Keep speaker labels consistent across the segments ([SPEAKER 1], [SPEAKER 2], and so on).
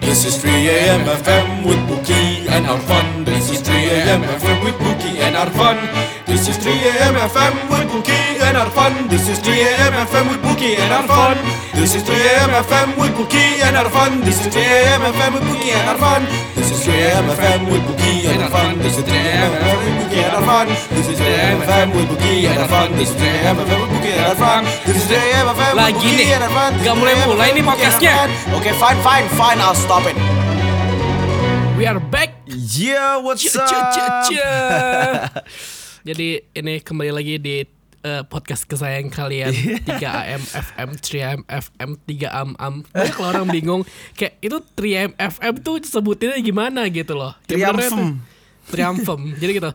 [SPEAKER 1] This is 3 a.m. FM with Bookie and our fun. This is 3 a.m. FM with Bookie and our fun. This is 3 a.m. FM with Bookie and our fun. This is 3 a.m. FM with Bookie and our fun. This is 3 a.m. FM with Bookie and our fun. This is 3 a.m. FM with Bookie and our fun. This is 3 a.m. FM with Bookie and our fun. This is 3 a.m. FM with Bookie and our fun. This is 3 a.m. FM with Bookie and our fun. This is 3 a.m. FM with Bookie and our fun. This is 3 a.m. FM with
[SPEAKER 2] Lagi
[SPEAKER 1] Bookie
[SPEAKER 2] nih.
[SPEAKER 1] and our fun. This is
[SPEAKER 2] Gak
[SPEAKER 1] 3
[SPEAKER 2] mulai-mulai
[SPEAKER 1] a.m.
[SPEAKER 2] nih
[SPEAKER 1] with Bookie and our
[SPEAKER 2] podcastnya.
[SPEAKER 1] fun. Okay, fine, fine, fine. I'll stop it.
[SPEAKER 3] We are back.
[SPEAKER 1] Yeah, what's
[SPEAKER 3] Cie, cie, cie, cie. Jadi ini kembali lagi di eh, podcast kesayangan kalian 3AM FM 3AM FM 3AM AM. Banyak kalau orang bingung kayak itu 3AM FM tuh sebutinnya gimana gitu loh. Ya, benernya tuh, Triumphum. Jadi gitu.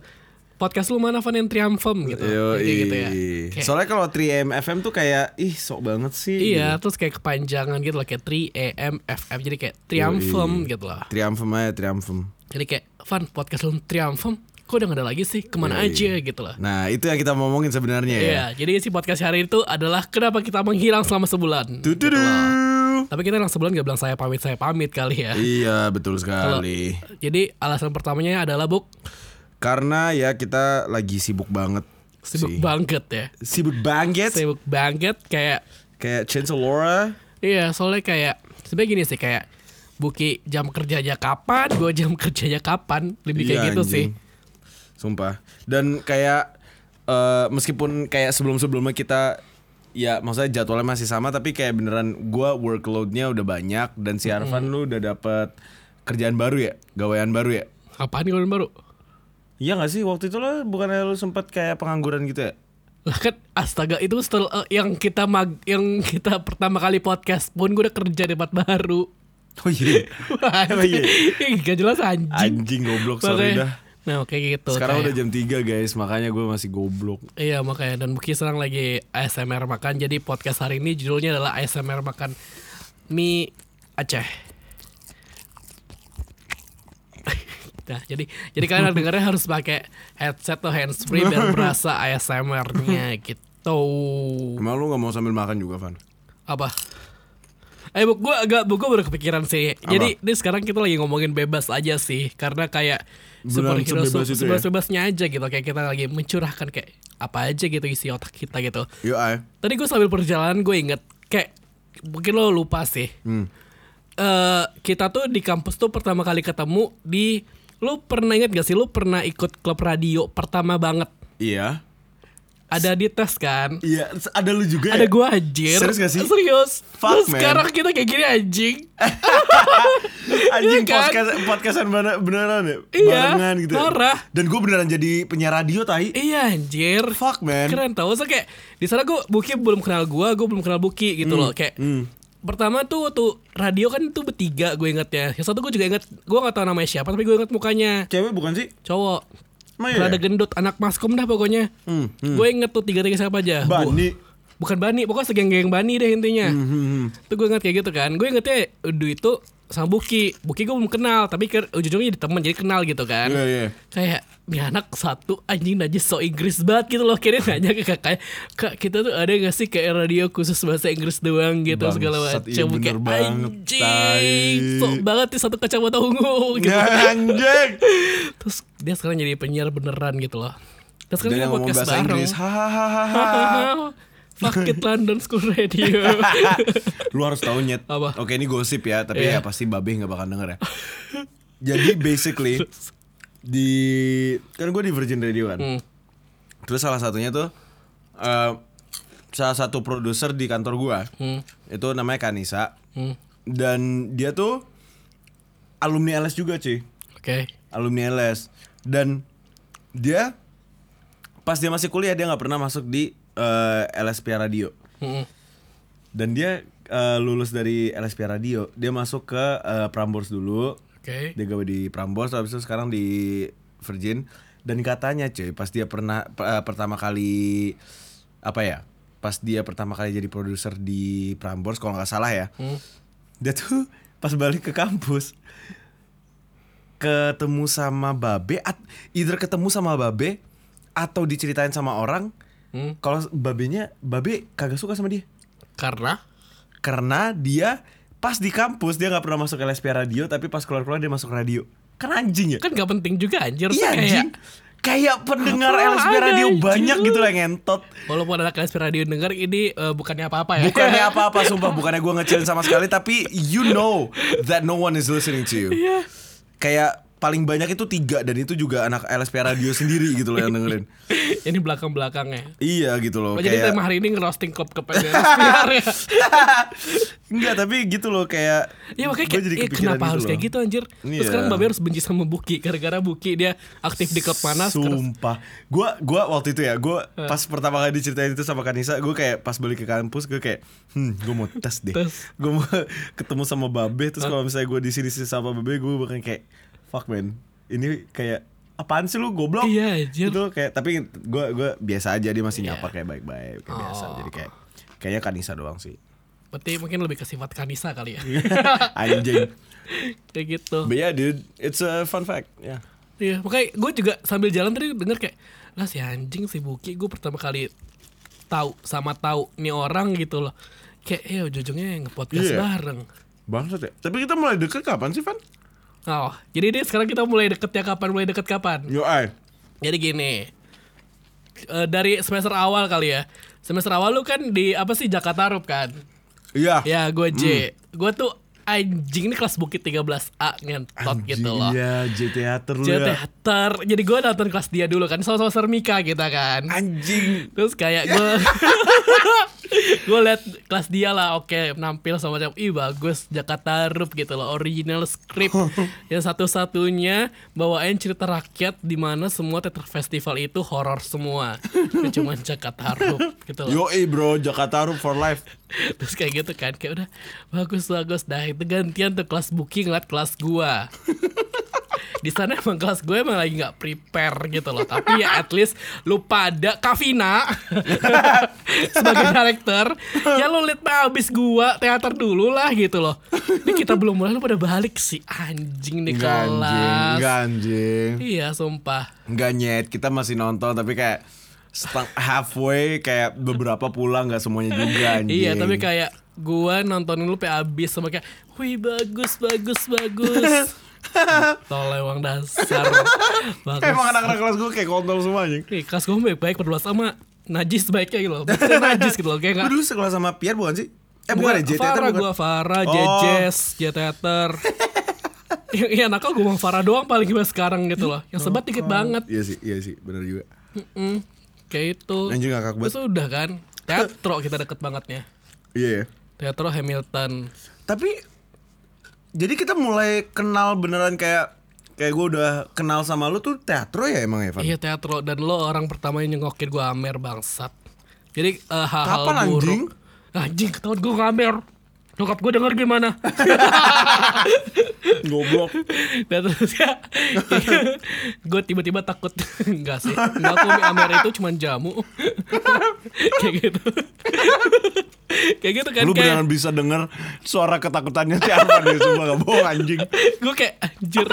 [SPEAKER 3] Podcast lu mana Van yang Triumphum gitu. Kayak gitu ya. Kayak-
[SPEAKER 1] Soalnya kalau 3M FM tuh kayak ih sok banget sih.
[SPEAKER 3] Iya, terus kayak kepanjangan gitu loh kayak 3AM FM. Jadi kayak Triumphum gitu loh.
[SPEAKER 1] Triumphum aja, triumphum.
[SPEAKER 3] Jadi kayak Van podcast lu Triumphum. Kok udah gak ada lagi sih? Kemana aja gitu loh.
[SPEAKER 1] Iya, Nah, itu yang kita mau ngomongin sebenarnya ya.
[SPEAKER 3] Iya, jadi si podcast hari itu adalah kenapa kita menghilang selama sebulan.
[SPEAKER 1] Tududu.
[SPEAKER 3] Gitu loh. Tapi kita yang sebulan gak bilang saya pamit, saya pamit kali ya.
[SPEAKER 1] Iya, betul sekali.
[SPEAKER 3] Jadi alasan pertamanya adalah buk
[SPEAKER 1] Karena ya kita lagi sibuk banget.
[SPEAKER 3] sibuk
[SPEAKER 1] sih.
[SPEAKER 3] banget ya.
[SPEAKER 1] Sibuk banget.
[SPEAKER 3] Sibuk banget kayak
[SPEAKER 1] Kayak Chancellor Laura.
[SPEAKER 3] iya, soalnya kayak sebenarnya gini sih kayak Buki jam kerjanya kapan, gua jam kerjanya kapan, lebih
[SPEAKER 1] Iya,
[SPEAKER 3] kayak gitu
[SPEAKER 1] anjing.
[SPEAKER 3] sih.
[SPEAKER 1] Sumpah. Dan kayak eh, meskipun kayak sebelum-sebelumnya kita ya maksudnya jadwalnya masih sama tapi kayak beneran gua workloadnya udah banyak dan si Arfan lu udah dapet kerjaan baru ya, gawaian baru ya.
[SPEAKER 3] Kapan nih baru?
[SPEAKER 1] Iya gak sih waktu itu lo bukannya lu sempet kayak pengangguran gitu ya?
[SPEAKER 3] Lah kan astaga itu setelah eh, yang kita mag, yang kita pertama kali podcast pun gua udah kerja di tempat baru.
[SPEAKER 1] Oh iya. Emang iya?
[SPEAKER 3] Gak jelas anjing.
[SPEAKER 1] Anjing goblok sorry
[SPEAKER 3] Makanya-
[SPEAKER 1] dah.
[SPEAKER 3] Nah, kayak gitu.
[SPEAKER 1] Sekarang udah jam
[SPEAKER 3] kayak-
[SPEAKER 1] 3 guys, makanya gue masih goblok.
[SPEAKER 3] Iya, makanya dan Buki sekarang lagi ASMR makan. Jadi podcast hari ini judulnya adalah ASMR makan mie Aceh. Nah, jadi jadi kalian dengarnya harus pakai headset atau handsfree biar berasa ASMR-nya gitu.
[SPEAKER 1] Emang lu gak mau sambil makan juga, Van?
[SPEAKER 3] Apa? Eh, bu, gue agak bu, gue baru kepikiran sih. Jadi ini sekarang kita lagi ngomongin bebas aja sih, karena kayak
[SPEAKER 1] Beneran
[SPEAKER 3] superhero
[SPEAKER 1] sebebas
[SPEAKER 3] su-
[SPEAKER 1] itu ya?
[SPEAKER 3] sebebas-bebasnya aja gitu. Kayak kita lagi mencurahkan kayak apa aja gitu isi otak kita gitu.
[SPEAKER 1] Yuk, ay.
[SPEAKER 3] Tadi gue sambil perjalanan gue inget kayak mungkin lo lupa sih.
[SPEAKER 1] Hmm.
[SPEAKER 3] Eh kita tuh di kampus tuh pertama kali ketemu di lo pernah inget gak sih lo pernah ikut klub radio pertama banget
[SPEAKER 1] Iya.
[SPEAKER 3] ada di tes kan
[SPEAKER 1] Iya, ada lu juga
[SPEAKER 3] ada gue anjir
[SPEAKER 1] Serius gak sih?
[SPEAKER 3] serius
[SPEAKER 1] Fuck, man.
[SPEAKER 3] Terus
[SPEAKER 1] Eh.
[SPEAKER 3] sekarang kita kayak gini anjing
[SPEAKER 1] Anjing
[SPEAKER 3] Iya kan?
[SPEAKER 1] podcast, podcastan bener- beneran ya?
[SPEAKER 3] Iya,
[SPEAKER 1] Barengan gitu. ya?
[SPEAKER 3] parah.
[SPEAKER 1] Dan gue beneran jadi penyiar radio, tai.
[SPEAKER 3] Iya anjir.
[SPEAKER 1] Fuck, man.
[SPEAKER 3] Keren tau. So kayak di sana gue Buki belum kenal gua, gue belum kenal Buki gitu
[SPEAKER 1] Hmm.
[SPEAKER 3] loh. Kayak pertama tuh tuh radio kan tuh bertiga gue ingetnya. Yang satu gue juga inget, gue nggak tahu namanya siapa tapi gue inget mukanya.
[SPEAKER 1] Cewek bukan sih?
[SPEAKER 3] Cowok.
[SPEAKER 1] Emang iya
[SPEAKER 3] Rada
[SPEAKER 1] ya?
[SPEAKER 3] gendut, anak maskom dah pokoknya. Gue inget tuh tiga-tiga siapa aja. Bu-
[SPEAKER 1] Bani. Hmm,
[SPEAKER 3] bukan Bani, pokoknya segeng-geng Bani deh intinya. Tuh gue inget kayak gitu kan. Gue ingetnya Udu itu sama Buki. Buki gue belum kenal, tapi ke, ujung-ujungnya jadi temen, jadi kenal gitu kan
[SPEAKER 1] Iya, iya.
[SPEAKER 3] kayak ini anak satu anjing najis so Inggris banget gitu loh kira nanya ke kakaknya kak kita tuh ada gak sih kayak radio khusus bahasa Inggris doang gitu
[SPEAKER 1] Bangsat,
[SPEAKER 3] segala
[SPEAKER 1] iya
[SPEAKER 3] macam
[SPEAKER 1] bener
[SPEAKER 3] kayak
[SPEAKER 1] banget,
[SPEAKER 3] anjing
[SPEAKER 1] tai. Iya,
[SPEAKER 3] so banget nih satu kacamata ungu gitu
[SPEAKER 1] Anjing.
[SPEAKER 3] terus dia sekarang jadi penyiar beneran gitu loh terus
[SPEAKER 1] Dan
[SPEAKER 3] sekarang kita
[SPEAKER 1] yang ngomong
[SPEAKER 3] podcast
[SPEAKER 1] bahasa
[SPEAKER 3] bareng
[SPEAKER 1] Inggris. Hahaha.
[SPEAKER 3] Hahaha. Fuck it London School Radio
[SPEAKER 1] lu harus tahu nyet.
[SPEAKER 3] Apa?
[SPEAKER 1] Oke ini gosip ya, tapi
[SPEAKER 3] Iya.
[SPEAKER 1] ya pasti babe nggak bakal denger ya. Jadi basically di kan gue di Virgin Radio kan.
[SPEAKER 3] Hmm.
[SPEAKER 1] Terus salah satunya tuh eh, salah satu produser di kantor gua
[SPEAKER 3] Hmm.
[SPEAKER 1] itu namanya Kanisa dan dia tuh alumni LS juga cuy
[SPEAKER 3] Oke
[SPEAKER 1] alumni LS dan dia pas dia masih kuliah dia nggak pernah masuk di eh, LSP Radio
[SPEAKER 3] Mm-mm.
[SPEAKER 1] dan dia eh, lulus dari LSP Radio dia masuk ke eh, Prambors dulu
[SPEAKER 3] Oke
[SPEAKER 1] dia gawe di Prambors habis itu sekarang di Virgin dan katanya cuy pas dia pernah per- eh, pertama kali apa ya pas dia pertama kali jadi produser di Prambors kalau nggak salah ya
[SPEAKER 3] Hmm.
[SPEAKER 1] dia tuh pas balik ke kampus ketemu sama babe at- either ketemu sama babe atau diceritain sama orang
[SPEAKER 3] Hmm.
[SPEAKER 1] kalau babenya babe kagak suka sama dia
[SPEAKER 3] Karena
[SPEAKER 1] karena dia Pas di kampus dia nggak pernah masuk LSP radio, tapi pas keluar-keluar dia masuk radio. Kan anjing ya?
[SPEAKER 3] Kan gak penting juga anjir
[SPEAKER 1] iya
[SPEAKER 3] Maksudnya kayak,
[SPEAKER 1] anjing. Kayak pendengar
[SPEAKER 3] Apa
[SPEAKER 1] LSP
[SPEAKER 3] ada,
[SPEAKER 1] radio
[SPEAKER 3] anjing?
[SPEAKER 1] banyak gitu lah ngentot.
[SPEAKER 3] Walaupun anak LSP Radio denger ini eh, bukannya apa-apa ya
[SPEAKER 1] Bukannya apa-apa sumpah, bukannya gue ngecilin sama sekali tapi you know that no one is listening to you.
[SPEAKER 3] Iya.
[SPEAKER 1] Kayak paling banyak itu tiga dan itu juga anak LSP radio sendiri gitu loh yang dengerin.
[SPEAKER 3] Ini belakang-belakangnya
[SPEAKER 1] Iya gitu loh.
[SPEAKER 3] Oh, Jadi tema hari ini ngerosting klub-klub LSPR ya
[SPEAKER 1] Enggak tapi gitu loh kayak
[SPEAKER 3] Ya makanya
[SPEAKER 1] gua
[SPEAKER 3] kayak, eh,
[SPEAKER 1] kepikiran
[SPEAKER 3] kenapa harus
[SPEAKER 1] loh.
[SPEAKER 3] kayak gitu anjir Terus
[SPEAKER 1] Iya.
[SPEAKER 3] sekarang Babe harus benci sama Buki Gara-gara Buki dia aktif di klub mana sekarang-
[SPEAKER 1] Sumpah Gua gua waktu itu ya Gua
[SPEAKER 3] Eh.
[SPEAKER 1] pas pertama kali diceritain itu sama Kanisa Gue kayak pas balik ke kampus Gue kayak Hmm gue mau tes deh
[SPEAKER 3] Tes.
[SPEAKER 1] Gue mau ketemu sama Babe Terus kalau misalnya gue di sini sama Babe Gue bakal kayak Fuck man Ini kayak Apaan sih lu goblok
[SPEAKER 3] Iya, anjir.
[SPEAKER 1] Itu kayak Tapi gue gua biasa aja Dia masih nyapa kayak baik-baik Kayak biasa
[SPEAKER 3] Oh.
[SPEAKER 1] Jadi kayak Kayaknya Kanisa doang sih
[SPEAKER 3] Berarti mungkin lebih ke sifat Kanisa kali ya
[SPEAKER 1] Iya. Anjing
[SPEAKER 3] Kayak gitu
[SPEAKER 1] But yeah dude It's a fun fact yeah.
[SPEAKER 3] Iya, makanya gue juga sambil jalan tadi denger kayak lah si anjing si Buki gue pertama kali tahu sama tahu nih orang gitu loh. Kayak ya ujung-ujungnya nge-podcast
[SPEAKER 1] Iya.
[SPEAKER 3] bareng.
[SPEAKER 1] Bangsat ya Tapi kita mulai deket kapan sih Van?
[SPEAKER 3] Oh, jadi deh sekarang kita mulai deket ya kapan mulai deket kapan.
[SPEAKER 1] Yo ay
[SPEAKER 3] Jadi gini. eh, dari semester awal kali ya. Semester awal lu kan di apa sih Jakarta Rup kan?
[SPEAKER 1] Iya
[SPEAKER 3] Ya, gue J. Gue tuh anjing ini kelas Bukit 13A ngentot gitu loh.
[SPEAKER 1] Iya, J teater lu
[SPEAKER 3] J
[SPEAKER 1] ya.
[SPEAKER 3] teater. Jadi gue nonton kelas dia dulu kan sama-sama Sermika kita kan.
[SPEAKER 1] Anjing.
[SPEAKER 3] Terus kayak gue Gue liat kelas dia lah Oke nampil sama macam Ih bagus Jakarta Rup gitu loh Original script Yang satu-satunya Bawain cerita rakyat Dimana semua teater festival itu horor semua Itu Cuman Jakarta Rup gitu loh
[SPEAKER 1] Yo, bro, Jakarta Room for life.
[SPEAKER 3] Terus kayak gitu kan Kayak udah Bagus-bagus Dah itu gantian tuh kelas booking Liat kelas gua di sana emang kelas gue emang lagi nggak prepare gitu loh tapi ya at least lu pada Kavina sebagai director ya lu liat mah abis gua teater dulu lah gitu loh ini kita belum mulai lu pada balik sih anjing di
[SPEAKER 1] Enggak anjing, enggak
[SPEAKER 3] kelas
[SPEAKER 1] anjing.
[SPEAKER 3] iya sumpah
[SPEAKER 1] Enggak nyet, kita masih nonton tapi kayak seteng halfway kayak beberapa pulang nggak semuanya juga anjing.
[SPEAKER 3] Iya, tapi kayak gua nontonin lu sampai habis sama kayak, "Wih, bagus, bagus, bagus." Tol emang dasar. Bagus.
[SPEAKER 1] Emang anak-anak kelas gue kayak kontol semua anjing.
[SPEAKER 3] Ih, kelas gue baik-baik berdua sama najis baiknya gitu loh. Maksudnya najis gitu loh, kayak
[SPEAKER 1] Lu
[SPEAKER 3] enggak
[SPEAKER 1] dulu sekolah sama Pierre bukan sih? Eh bukan ya, J teater
[SPEAKER 3] Farah
[SPEAKER 1] bukan.
[SPEAKER 3] gua Farah,
[SPEAKER 1] Oh.
[SPEAKER 3] Jejes, J Theater. Iya, anak gue mau Farah doang paling gimana sekarang gitu loh. Yang sebat dikit banget.
[SPEAKER 1] Iya sih, iya sih, benar juga.
[SPEAKER 3] Mm, kayak itu.
[SPEAKER 1] Anjing ngakak banget.
[SPEAKER 3] Terus udah kan, teatro kita deket bangetnya.
[SPEAKER 1] Iya. ya.
[SPEAKER 3] Teatro Hamilton.
[SPEAKER 1] Tapi jadi kita mulai kenal beneran kayak kayak gue udah kenal sama lu tuh teatro ya emang Evan?
[SPEAKER 3] Iya teatro dan lo orang pertama yang nyengokin gue Amer bangsat. Jadi eh, hal-hal
[SPEAKER 1] Kapan,
[SPEAKER 3] buruk.
[SPEAKER 1] anjing?
[SPEAKER 3] Anjing ketahuan gue ngamer. Nyokap gue denger gimana?
[SPEAKER 1] Goblok.
[SPEAKER 3] dan terus ya, gue tiba-tiba takut enggak sih. Enggak kok mie Amer itu cuman jamu. kayak gitu. kayak gitu kan
[SPEAKER 1] Lu
[SPEAKER 3] kayak
[SPEAKER 1] beneran bisa denger suara ketakutannya si Arman ya Sumpah gak bohong anjing
[SPEAKER 3] gue kayak anjir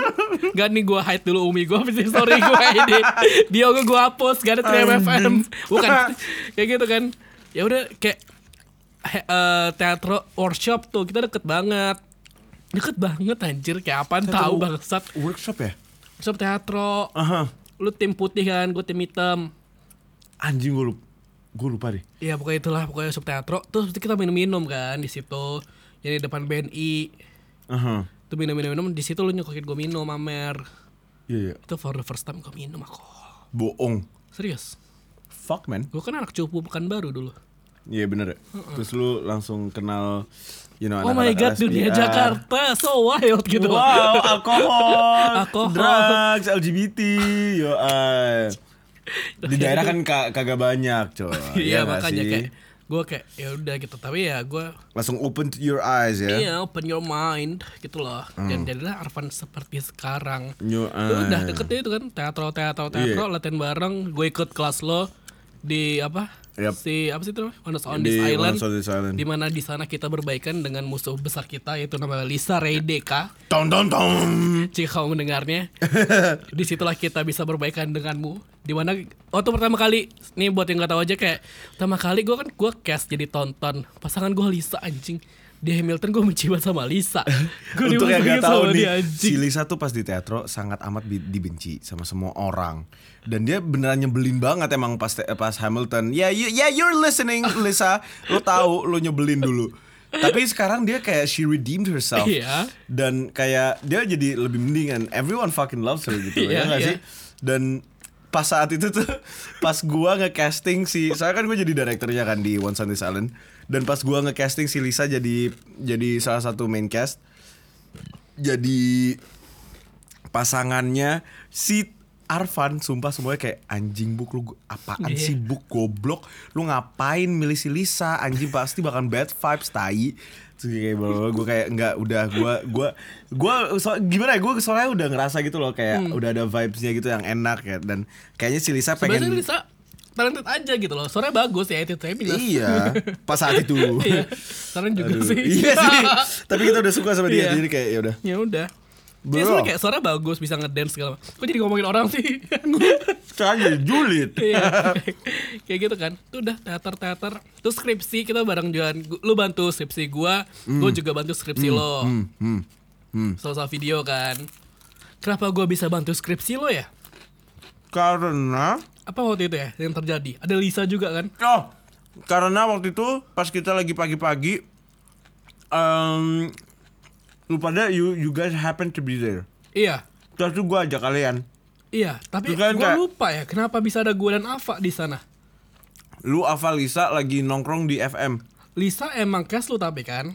[SPEAKER 3] gak nih gue hide dulu umi gue pasti sorry gue ini bio gue gue hapus gak ada 3 FM bukan kayak gitu kan ya udah kayak he- eh, teatro workshop tuh kita deket banget deket banget anjir kayak apaan tahu bangsat
[SPEAKER 1] Workshop ya?
[SPEAKER 3] workshop teatro
[SPEAKER 1] Aha
[SPEAKER 3] lu tim putih kan gue tim hitam
[SPEAKER 1] Anjing gue lupa Gue lupa deh
[SPEAKER 3] ya pokoknya itulah pokoknya workshop teatro terus kita minum-minum kan di situ jadi depan BNI
[SPEAKER 1] Aha
[SPEAKER 3] tuh minum-minum di situ lu nyokokin gue minum Amer
[SPEAKER 1] Iya iya
[SPEAKER 3] itu for the first time gue minum aku
[SPEAKER 1] Boong
[SPEAKER 3] Serius,
[SPEAKER 1] Fuck man
[SPEAKER 3] gue kan anak cupu pekan baru dulu.
[SPEAKER 1] Iya bener ya Terus lu langsung kenal You know
[SPEAKER 3] oh my god,
[SPEAKER 1] anak-anak
[SPEAKER 3] dunia
[SPEAKER 1] SPR.
[SPEAKER 3] Jakarta so wild gitu.
[SPEAKER 1] Wow alkohol
[SPEAKER 3] Alkohol.
[SPEAKER 1] Drugs LGBT Yo ay. Di daerah kan ka- kagak banyak coy nggak
[SPEAKER 3] Iya makanya
[SPEAKER 1] sih?
[SPEAKER 3] kayak gue kayak ya udah gitu tapi ya gue
[SPEAKER 1] Langsung open to your eyes ya
[SPEAKER 3] iya open your mind gitu loh
[SPEAKER 1] Hmm.
[SPEAKER 3] dan jadilah Arvan seperti sekarang
[SPEAKER 1] Yo,
[SPEAKER 3] Lu
[SPEAKER 1] ay.
[SPEAKER 3] udah deket itu kan teatro teatro
[SPEAKER 1] Ah. Iya.
[SPEAKER 3] teatro latihan bareng gue ikut kelas lo di apa
[SPEAKER 1] Yap.
[SPEAKER 3] si apa sih itu namanya? on, this- on
[SPEAKER 1] Di
[SPEAKER 3] this island
[SPEAKER 1] Once on this island.
[SPEAKER 3] di mana di sana kita berbaikan dengan musuh besar kita yaitu namanya Lisa Redeka
[SPEAKER 1] Tong tong tong
[SPEAKER 3] jika kamu mendengarnya disitulah kita bisa berbaikan denganmu dimana waktu pertama kali nih buat yang nggak tahu aja kayak pertama kali gue kan gue cast jadi tonton pasangan gue Lisa anjing di Hamilton gue benci banget sama Lisa. Gue
[SPEAKER 1] Untuk yang
[SPEAKER 3] dimasukin
[SPEAKER 1] gak tahu
[SPEAKER 3] sama
[SPEAKER 1] nih,
[SPEAKER 3] dia,
[SPEAKER 1] si
[SPEAKER 3] anjing.
[SPEAKER 1] Lisa tuh pas di teatro sangat amat bi- dibenci sama semua orang. Dan dia beneran nyebelin banget emang pas te- pas Hamilton. Ya you, ya you're listening Lisa. Lo tahu lo nyebelin dulu. Tapi sekarang dia kayak she redeemed herself.
[SPEAKER 3] Iya.
[SPEAKER 1] Dan kayak dia jadi lebih mendingan. Everyone fucking loves her gitu loh,
[SPEAKER 3] Iya,
[SPEAKER 1] ya gak
[SPEAKER 3] iya.
[SPEAKER 1] sih? Dan pas saat itu tuh pas gua ngecasting si saya kan gue jadi direkturnya kan di One Sunday Island dan pas gua ngecasting si Lisa jadi jadi salah satu main cast jadi pasangannya si Arfan sumpah semuanya kayak anjing buk lu apaan sih
[SPEAKER 3] Iya.
[SPEAKER 1] buk goblok lu ngapain milih si Lisa anjing pasti bahkan bad vibes tai Terus kayak gue kayak nggak udah gue gue gue so, gimana ya gue soalnya udah ngerasa gitu loh kayak
[SPEAKER 3] Hmm.
[SPEAKER 1] udah ada vibesnya gitu yang enak ya dan kayaknya si Lisa pengen
[SPEAKER 3] Sebenarnya Lisa talented aja gitu loh. Suaranya bagus ya, itu saya bilang.
[SPEAKER 1] iya pas saat itu
[SPEAKER 3] Iya. Sekarang juga
[SPEAKER 1] Aduh,
[SPEAKER 3] sih.
[SPEAKER 1] iya sih tapi kita udah suka sama dia
[SPEAKER 3] Iya.
[SPEAKER 1] jadi kayak ya udah
[SPEAKER 3] ya udah.
[SPEAKER 1] Bro.
[SPEAKER 3] Dia sebenarnya kayak suara bagus, bisa ngedance segala macam. Kok jadi ngomongin orang sih?
[SPEAKER 1] Soalnya julid
[SPEAKER 3] Iya. kayak gitu kan. Itu udah teater-teater. Terus skripsi kita bareng juga. Lu bantu skripsi gua, gua juga bantu skripsi lo.
[SPEAKER 1] hmm.
[SPEAKER 3] Soal-soal video kan. Kenapa gua bisa bantu skripsi lo ya?
[SPEAKER 1] karena
[SPEAKER 3] Apa waktu itu ya yang terjadi? Ada Lisa juga kan?
[SPEAKER 1] Oh, karena waktu itu pas kita lagi pagi-pagi, em lu pada you you guys happen to be there.
[SPEAKER 3] Iya.
[SPEAKER 1] Terus tuh gue ajak kalian,
[SPEAKER 3] Iya, tapi
[SPEAKER 1] Bukan,
[SPEAKER 3] gua
[SPEAKER 1] kan, Kak.
[SPEAKER 3] lupa ya kenapa bisa ada gua dan Ava di sana.
[SPEAKER 1] lu Aval Lisa lagi nongkrong di FM.
[SPEAKER 3] Lisa emang cast lu tapi kan?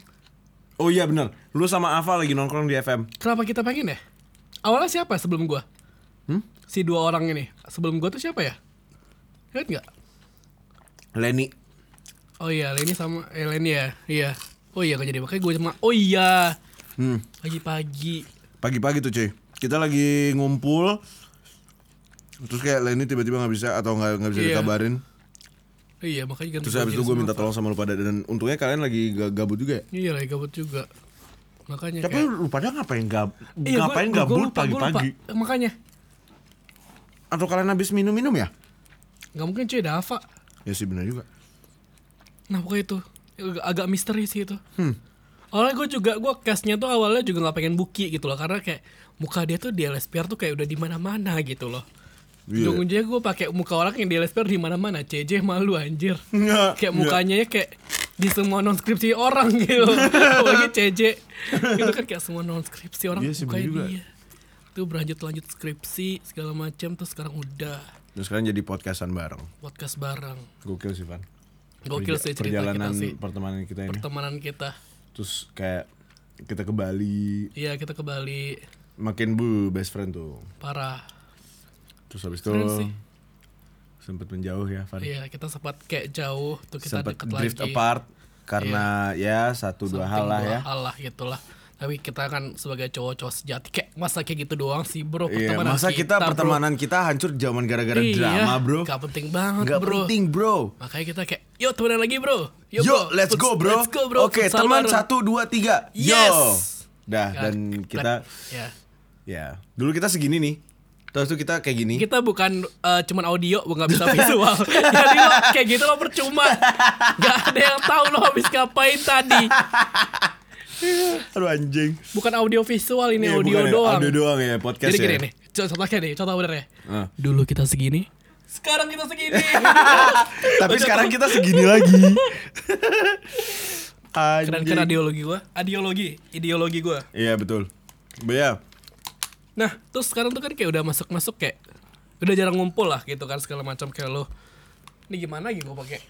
[SPEAKER 1] Oh iya bener, lu sama Aval lagi nongkrong di FM.
[SPEAKER 3] Kenapa kita pengen ya? Awalnya siapa ya sebelum gua?
[SPEAKER 1] Hmm?
[SPEAKER 3] Si dua orang ini. Sebelum gua tuh siapa ya? Ingat nggak?
[SPEAKER 1] Lenny,
[SPEAKER 3] Oh iya, Lenny sama eh, Lenny ya. Iya. Oh iya, kok jadi makanya gue cuma oh iya.
[SPEAKER 1] hmm,
[SPEAKER 3] Pagi-pagi.
[SPEAKER 1] pagi-pagi tuh cuy, kita lagi ngumpul. Terus kayak Lenny tiba-tiba nggak bisa atau nggak nggak bisa
[SPEAKER 3] Iya.
[SPEAKER 1] dikabarin.
[SPEAKER 3] Oh iya, makanya ganti
[SPEAKER 1] Terus habis itu gue minta tolong sama lu pada dan untungnya kalian lagi ga- gabut juga. ya?
[SPEAKER 3] Iya, lagi gabut juga. Makanya
[SPEAKER 1] Tapi lu pada ngapain gab
[SPEAKER 3] Iya, gua-
[SPEAKER 1] ngapain
[SPEAKER 3] gua- gua
[SPEAKER 1] gabut
[SPEAKER 3] lupa, gua lupa.
[SPEAKER 1] pagi-pagi?
[SPEAKER 3] Eh, Makanya
[SPEAKER 1] Atau kalian habis minum-minum ya?
[SPEAKER 3] nggak mungkin cuy ada Ava.
[SPEAKER 1] Ya sih benar juga.
[SPEAKER 3] Nah pokoknya itu Ag- agak misteri sih itu.
[SPEAKER 1] Hmm.
[SPEAKER 3] Awalnya gue juga gue castnya tuh awalnya juga nggak pengen buki gitu loh karena kayak muka dia tuh di LSPR tuh kayak udah di mana-mana gitu loh.
[SPEAKER 1] Iya.
[SPEAKER 3] Ujung-ujungnya gue pakai muka orang yang di LSPR di mana-mana. CJ malu anjir.
[SPEAKER 1] Nggak,
[SPEAKER 3] kayak
[SPEAKER 1] nggak.
[SPEAKER 3] mukanya ya kayak di semua non skripsi orang gitu. Apalagi CJ itu kan kayak semua non skripsi orang
[SPEAKER 1] Iya sih, bener
[SPEAKER 3] mukanya
[SPEAKER 1] juga.
[SPEAKER 3] dia. Tuh berlanjut lanjut skripsi segala macam terus sekarang udah
[SPEAKER 1] Terus kalian jadi podcastan bareng.
[SPEAKER 3] podcast bareng.
[SPEAKER 1] Gokil sih, Van.
[SPEAKER 3] Gokil
[SPEAKER 1] Perja-
[SPEAKER 3] sih cerita
[SPEAKER 1] perjalanan
[SPEAKER 3] kita sih.
[SPEAKER 1] pertemanan kita ini.
[SPEAKER 3] Pertemanan kita.
[SPEAKER 1] Terus kayak kita ke Bali,
[SPEAKER 3] Iya kita ke Bali
[SPEAKER 1] makin bu best friend tuh.
[SPEAKER 3] parah.
[SPEAKER 1] Terus habis itu
[SPEAKER 3] Keren sih.
[SPEAKER 1] sempet menjauh ya, Van.
[SPEAKER 3] Iya kita sempat kayak jauh tuh kita
[SPEAKER 1] sempet
[SPEAKER 3] deket
[SPEAKER 1] drift
[SPEAKER 3] lagi. Iya.
[SPEAKER 1] apart karena ya satu dua hal lah ya.
[SPEAKER 3] Hal lah gitulah. Tapi kita kan sebagai cowok-cowok sejati kayak masa kayak gitu doang sih bro
[SPEAKER 1] Iya,
[SPEAKER 3] pertemanan
[SPEAKER 1] masa kita,
[SPEAKER 3] bro.
[SPEAKER 1] pertemanan kita hancur zaman gara-gara
[SPEAKER 3] Iya,
[SPEAKER 1] drama, Bro.
[SPEAKER 3] Gak penting banget
[SPEAKER 1] Nggak
[SPEAKER 3] bro.
[SPEAKER 1] penting, Bro.
[SPEAKER 3] Makanya kita kayak yuk temenan lagi bro.
[SPEAKER 1] Yo,
[SPEAKER 3] bro.
[SPEAKER 1] let's
[SPEAKER 3] Puts-
[SPEAKER 1] go bro.
[SPEAKER 3] Let's go bro.
[SPEAKER 1] Oke,
[SPEAKER 3] Futsal
[SPEAKER 1] teman
[SPEAKER 3] bareng.
[SPEAKER 1] satu dua tiga.
[SPEAKER 3] Yes.
[SPEAKER 1] Yo. Dah
[SPEAKER 3] Nah,
[SPEAKER 1] dan kita
[SPEAKER 3] Ya.
[SPEAKER 1] ya dulu kita segini nih. Terus tuh kita kayak gini.
[SPEAKER 3] Kita bukan eh, cuman audio, gue nggak bisa visual. Jadi lo kayak gitu lo percuma. Gak ada yang tahu lo habis ngapain tadi.
[SPEAKER 1] Aduh anjing.
[SPEAKER 3] Bukan audio visual ini
[SPEAKER 1] Iya,
[SPEAKER 3] audio
[SPEAKER 1] bukan ya,
[SPEAKER 3] doang.
[SPEAKER 1] Audio doang ya podcast
[SPEAKER 3] Jadi
[SPEAKER 1] ya.
[SPEAKER 3] gini nih, co- contohnya nih, contoh bener ya.
[SPEAKER 1] Ah.
[SPEAKER 3] Dulu kita segini, sekarang kita segini.
[SPEAKER 1] Tapi sekarang kita segini lagi.
[SPEAKER 3] Keren-keren
[SPEAKER 1] Anjing.
[SPEAKER 3] ideologi gua, ideologi, ideologi gua.
[SPEAKER 1] Iya betul. Iya.
[SPEAKER 3] Nah, terus sekarang tuh kan kayak udah masuk-masuk kayak udah jarang ngumpul lah gitu kan segala macam kayak lo. Ini gimana lagi gua pakai?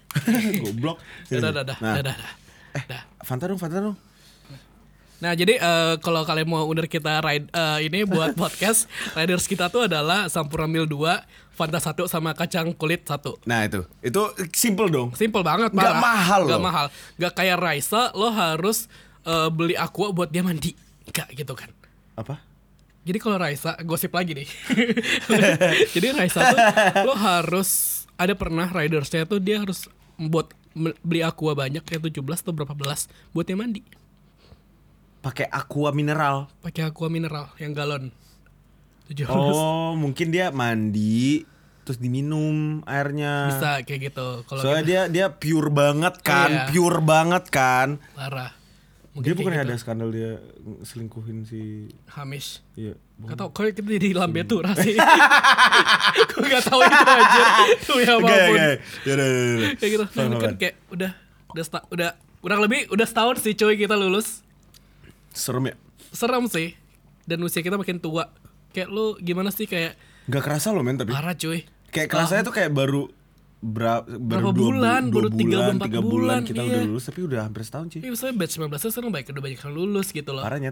[SPEAKER 1] Goblok.
[SPEAKER 3] Dadah, dadah,
[SPEAKER 1] Nah,
[SPEAKER 3] dadah, dadah. Dah.
[SPEAKER 1] Fanta dong, Fanta dong.
[SPEAKER 3] Nah, jadi eh, kalau kalian mau order kita ride eh, ini buat podcast, riders kita tuh adalah Sampurna Mil 2, Fanta 1 sama kacang kulit 1.
[SPEAKER 1] Nah itu, itu simple dong.
[SPEAKER 3] Simple banget,
[SPEAKER 1] Nggak
[SPEAKER 3] parah.
[SPEAKER 1] mahal
[SPEAKER 3] Nggak
[SPEAKER 1] loh.
[SPEAKER 3] mahal. Nggak kayak Raisa, lo harus eh, beli aqua buat dia mandi. Nggak gitu kan.
[SPEAKER 1] Apa?
[SPEAKER 3] Jadi kalau Raisa, gosip lagi nih. Jadi Raisa tuh lo harus ada pernah ridersnya tuh dia harus buat beli aqua banyak kayak 17 atau berapa belas buat dia mandi.
[SPEAKER 1] Pakai aqua mineral.
[SPEAKER 3] Pakai aqua mineral yang galon. 17.
[SPEAKER 1] Oh, mungkin dia mandi terus diminum airnya.
[SPEAKER 3] Bisa kayak gitu. Kalau
[SPEAKER 1] Soalnya
[SPEAKER 3] kita
[SPEAKER 1] dia dia pure banget kan,
[SPEAKER 3] Iya.
[SPEAKER 1] pure banget kan.
[SPEAKER 3] parah. Mungkin
[SPEAKER 1] Dia bukan
[SPEAKER 3] kayak
[SPEAKER 1] ada
[SPEAKER 3] gitu.
[SPEAKER 1] skandal dia selingkuhin si
[SPEAKER 3] Hamis.
[SPEAKER 1] Iya, bukan.
[SPEAKER 3] Gak tau, kok kita jadi lambe tuh sih Gue gak tau itu aja Tuh ya
[SPEAKER 1] Oke,
[SPEAKER 3] apapun
[SPEAKER 1] oke. Ya udah, ya udah.
[SPEAKER 3] Kayak gitu
[SPEAKER 1] Fine,
[SPEAKER 3] Nah, kan
[SPEAKER 1] fine.
[SPEAKER 3] kayak udah Udah seta- udah Kurang lebih udah setahun sih cuy kita lulus
[SPEAKER 1] Serem ya?
[SPEAKER 3] Serem sih Dan usia kita makin tua Kayak lu gimana sih kayak
[SPEAKER 1] Gak kerasa loh men tapi.
[SPEAKER 3] Parah cuy
[SPEAKER 1] Kayak kerasanya tuh kayak baru berapa
[SPEAKER 3] Berapa
[SPEAKER 1] baru dua bu-
[SPEAKER 3] bulan,
[SPEAKER 1] dua
[SPEAKER 3] baru tiga,
[SPEAKER 1] bulan,
[SPEAKER 3] empat
[SPEAKER 1] tiga bulan,
[SPEAKER 3] bulan,
[SPEAKER 1] kita
[SPEAKER 3] iya.
[SPEAKER 1] udah lulus tapi udah hampir setahun sih.
[SPEAKER 3] Ini misalnya batch 19 nya sekarang baik udah banyak yang lulus gitu loh
[SPEAKER 1] Parahnya.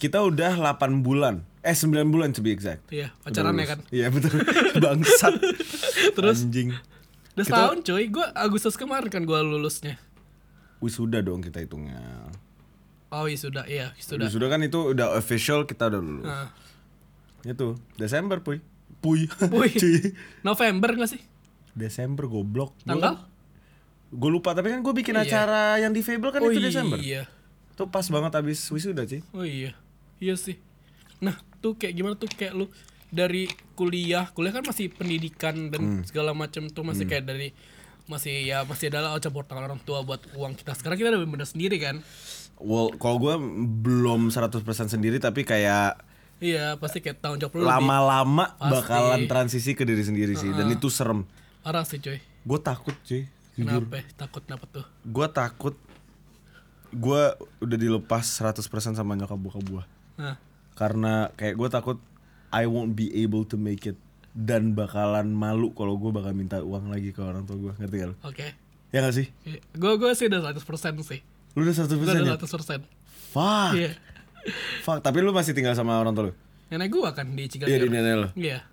[SPEAKER 1] Kita udah 8 bulan. Eh 9 bulan to be exact.
[SPEAKER 3] Iya
[SPEAKER 1] Udah
[SPEAKER 3] pacarannya
[SPEAKER 1] lulus.
[SPEAKER 3] kan
[SPEAKER 1] Iya betul. Bangsat.
[SPEAKER 3] Terus?
[SPEAKER 1] anjing. Kita-
[SPEAKER 3] Udah setahun cuy Gue Agustus kemarin kan gue lulusnya
[SPEAKER 1] Wisuda dong kita hitungnya.
[SPEAKER 3] Oh iya sudah Iya sudah
[SPEAKER 1] Wisuda kan itu udah official kita udah lulus.
[SPEAKER 3] Nah.
[SPEAKER 1] Itu Desember puy. Puy.
[SPEAKER 3] Wih,
[SPEAKER 1] Cuy.
[SPEAKER 3] November gak sih?
[SPEAKER 1] Desember goblok.
[SPEAKER 3] Tanggal?
[SPEAKER 1] Gue lupa tapi kan gue bikin
[SPEAKER 3] Iya.
[SPEAKER 1] acara yang di Fable kan itu Desember.
[SPEAKER 3] iya
[SPEAKER 1] Tuh pas banget abis wisuda sih.
[SPEAKER 3] Oh iya, iya sih. Nah, tuh kayak gimana tuh kayak lu dari kuliah, kuliah kan masih pendidikan
[SPEAKER 1] Hmm.
[SPEAKER 3] dan segala macam tuh masih kayak dari masih ya masih adalah oh, campur tangan orang tua buat uang kita. Sekarang kita udah bener sendiri kan?
[SPEAKER 1] Well, kalau gue belum 100% sendiri tapi kayak
[SPEAKER 3] Iya, pasti kayak tanggung jawab lu lebih
[SPEAKER 1] lama-lama
[SPEAKER 3] Pasti.
[SPEAKER 1] bakalan transisi ke diri sendiri sih dan itu serem.
[SPEAKER 3] parah sih coy.
[SPEAKER 1] Gue takut cuy.
[SPEAKER 3] Kenapa? Takut kenapa tuh?
[SPEAKER 1] Gue takut gue udah dilepas 100% sama nyokap bokap gue
[SPEAKER 3] Nah,
[SPEAKER 1] karena kayak gue takut I won't be able to make it dan bakalan malu kalau gue bakal minta uang lagi ke orang tua gue ngerti gak lu?
[SPEAKER 3] oke.
[SPEAKER 1] Ya gak sih?
[SPEAKER 3] Gue gue sih udah 100% sih.
[SPEAKER 1] Lu udah 100%
[SPEAKER 3] Gue
[SPEAKER 1] ya?
[SPEAKER 3] udah 100%.
[SPEAKER 1] Fuck.
[SPEAKER 3] Iya.
[SPEAKER 1] Fuck, tapi lu masih tinggal sama orang tua lu?
[SPEAKER 3] Nenek gua kan di Ciganjur.
[SPEAKER 1] Iya, di nenek lu.
[SPEAKER 3] Iya.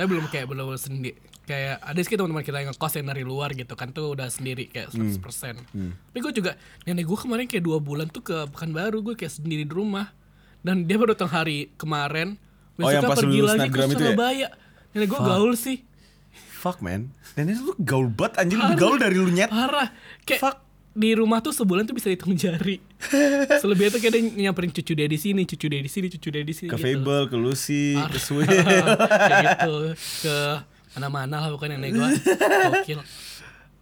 [SPEAKER 3] Tapi belum kayak belum sendiri. Kayak ada sih teman-teman kita yang ngekos yang dari luar gitu kan tuh udah sendiri kayak
[SPEAKER 1] Hmm.
[SPEAKER 3] 100%. Tapi gue juga nenek gue kemarin kayak dua bulan tuh ke Pekanbaru gue kayak sendiri di rumah. Dan dia baru datang hari kemarin.
[SPEAKER 1] Oh, yang
[SPEAKER 3] besoknya
[SPEAKER 1] pas lu lulus Snapgram itu ya?
[SPEAKER 3] Surabaya. Nenek gue gaul sih.
[SPEAKER 1] Fuck man. Nenek lu gaul banget anjir, lu gaul dari lu nyet.
[SPEAKER 3] Parah. Kayak
[SPEAKER 1] Fuck.
[SPEAKER 3] di rumah tuh sebulan tuh bisa dihitung jari. Selebihnya tuh kayak dia nyamperin cucu dia di sini, cucu dia di sini, cucu dia di sini.
[SPEAKER 1] Ke
[SPEAKER 3] gitu.
[SPEAKER 1] Fable, ke Lucy, ke Swiss.
[SPEAKER 3] Kayak gitu ke mana-mana lah bukan nenek gue gokil Kayak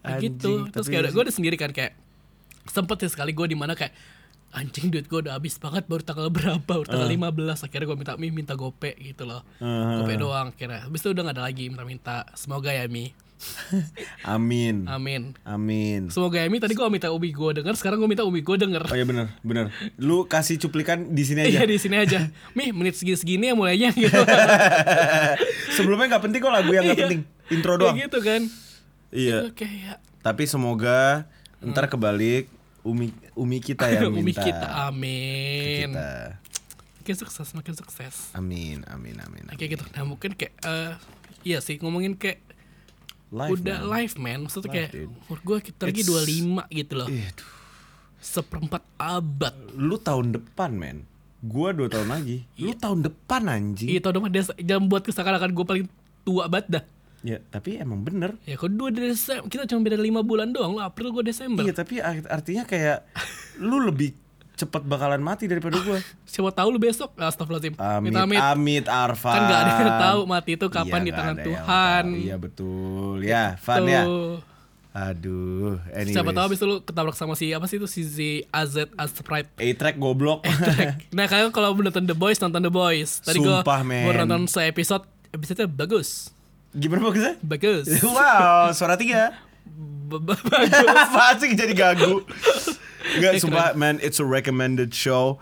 [SPEAKER 1] Anjing,
[SPEAKER 3] gitu terus
[SPEAKER 1] tapi-
[SPEAKER 3] kayak gue udah sendiri kan kayak sempet ya sekali gue di mana kayak anjing duit gue udah habis banget baru tanggal berapa baru tanggal 15 akhirnya gue minta mi minta gope gitu loh
[SPEAKER 1] Ah.
[SPEAKER 3] gope doang akhirnya habis itu udah gak ada lagi minta-minta semoga ya mi
[SPEAKER 1] Amin.
[SPEAKER 3] amin
[SPEAKER 1] Amin.
[SPEAKER 3] semoga ya mi tadi gue minta ubi gue denger sekarang gue minta ubi gue denger
[SPEAKER 1] Oh iya benar, benar. Lu kasih cuplikan di sini aja.
[SPEAKER 3] Iya di sini aja. Mi menit segini-segini ya mulainya gitu.
[SPEAKER 1] Sebelumnya nggak penting kok lagu yang nggak
[SPEAKER 3] Iya.
[SPEAKER 1] penting. Intro
[SPEAKER 3] Kayak
[SPEAKER 1] doang.
[SPEAKER 3] gitu kan.
[SPEAKER 1] Iya.
[SPEAKER 3] Oke ya.
[SPEAKER 1] Tapi semoga ntar kebalik Umi Umi kita yang
[SPEAKER 3] Umi
[SPEAKER 1] minta.
[SPEAKER 3] kita
[SPEAKER 1] Ke
[SPEAKER 3] amin
[SPEAKER 1] Kita.
[SPEAKER 3] makin sukses makin sukses
[SPEAKER 1] Amin, amin, amin. amin.
[SPEAKER 3] kayak gitu nah mungkin kayak eh iya sih ngomongin kayak
[SPEAKER 1] Live,
[SPEAKER 3] udah
[SPEAKER 1] man.
[SPEAKER 3] live man maksudnya kayak
[SPEAKER 1] dude.
[SPEAKER 3] umur gue kita lagi
[SPEAKER 1] It's- Iya,
[SPEAKER 3] 25 gitu loh
[SPEAKER 1] Ih, aduh.
[SPEAKER 3] seperempat abad
[SPEAKER 1] Lu tahun depan, men. Gua dua tahun lagi. Lu
[SPEAKER 3] Iya.
[SPEAKER 1] tahun depan anjing.
[SPEAKER 3] itu Iya, dong Des jangan buat kesakalakan gue paling tua banget dah
[SPEAKER 1] Ya, tapi emang bener.
[SPEAKER 3] ya kok dua Desember kita cuma beda lima bulan doang lo April gue Desember
[SPEAKER 1] Iya, tapi art- artinya kayak lu lebih cepet bakalan mati daripada gua.
[SPEAKER 3] siapa tahu lu besok astagfirullahaladzim
[SPEAKER 1] Amit,
[SPEAKER 3] Minta
[SPEAKER 1] amit, Arfan.
[SPEAKER 3] kan gak ada yang tahu mati itu kapan
[SPEAKER 1] Iya,
[SPEAKER 3] di
[SPEAKER 1] nggak ada
[SPEAKER 3] tangan
[SPEAKER 1] yang
[SPEAKER 3] Tuhan Gitu.
[SPEAKER 1] tahu. Iya betul. Ya, Fan ya.
[SPEAKER 3] Tuh.
[SPEAKER 1] Aduh, anyways.
[SPEAKER 3] Siapa tahu abis itu lu ketabrak sama si apa sih itu si Z AZ Az Sprite.
[SPEAKER 1] A-Track Eh, goblok.
[SPEAKER 3] nah kalian kalau mau nonton The Boys nonton The Boys. Tadi gua
[SPEAKER 1] Sumpah, men.
[SPEAKER 3] gua nonton episode episode bagus.
[SPEAKER 1] Gimana bagusnya?
[SPEAKER 3] Bagus.
[SPEAKER 1] wow, suara tiga.
[SPEAKER 3] B- b- bagus.
[SPEAKER 1] Apaan sih jadi gagu?
[SPEAKER 3] Eh,
[SPEAKER 1] Enggak, sumpah man, it's a recommended show.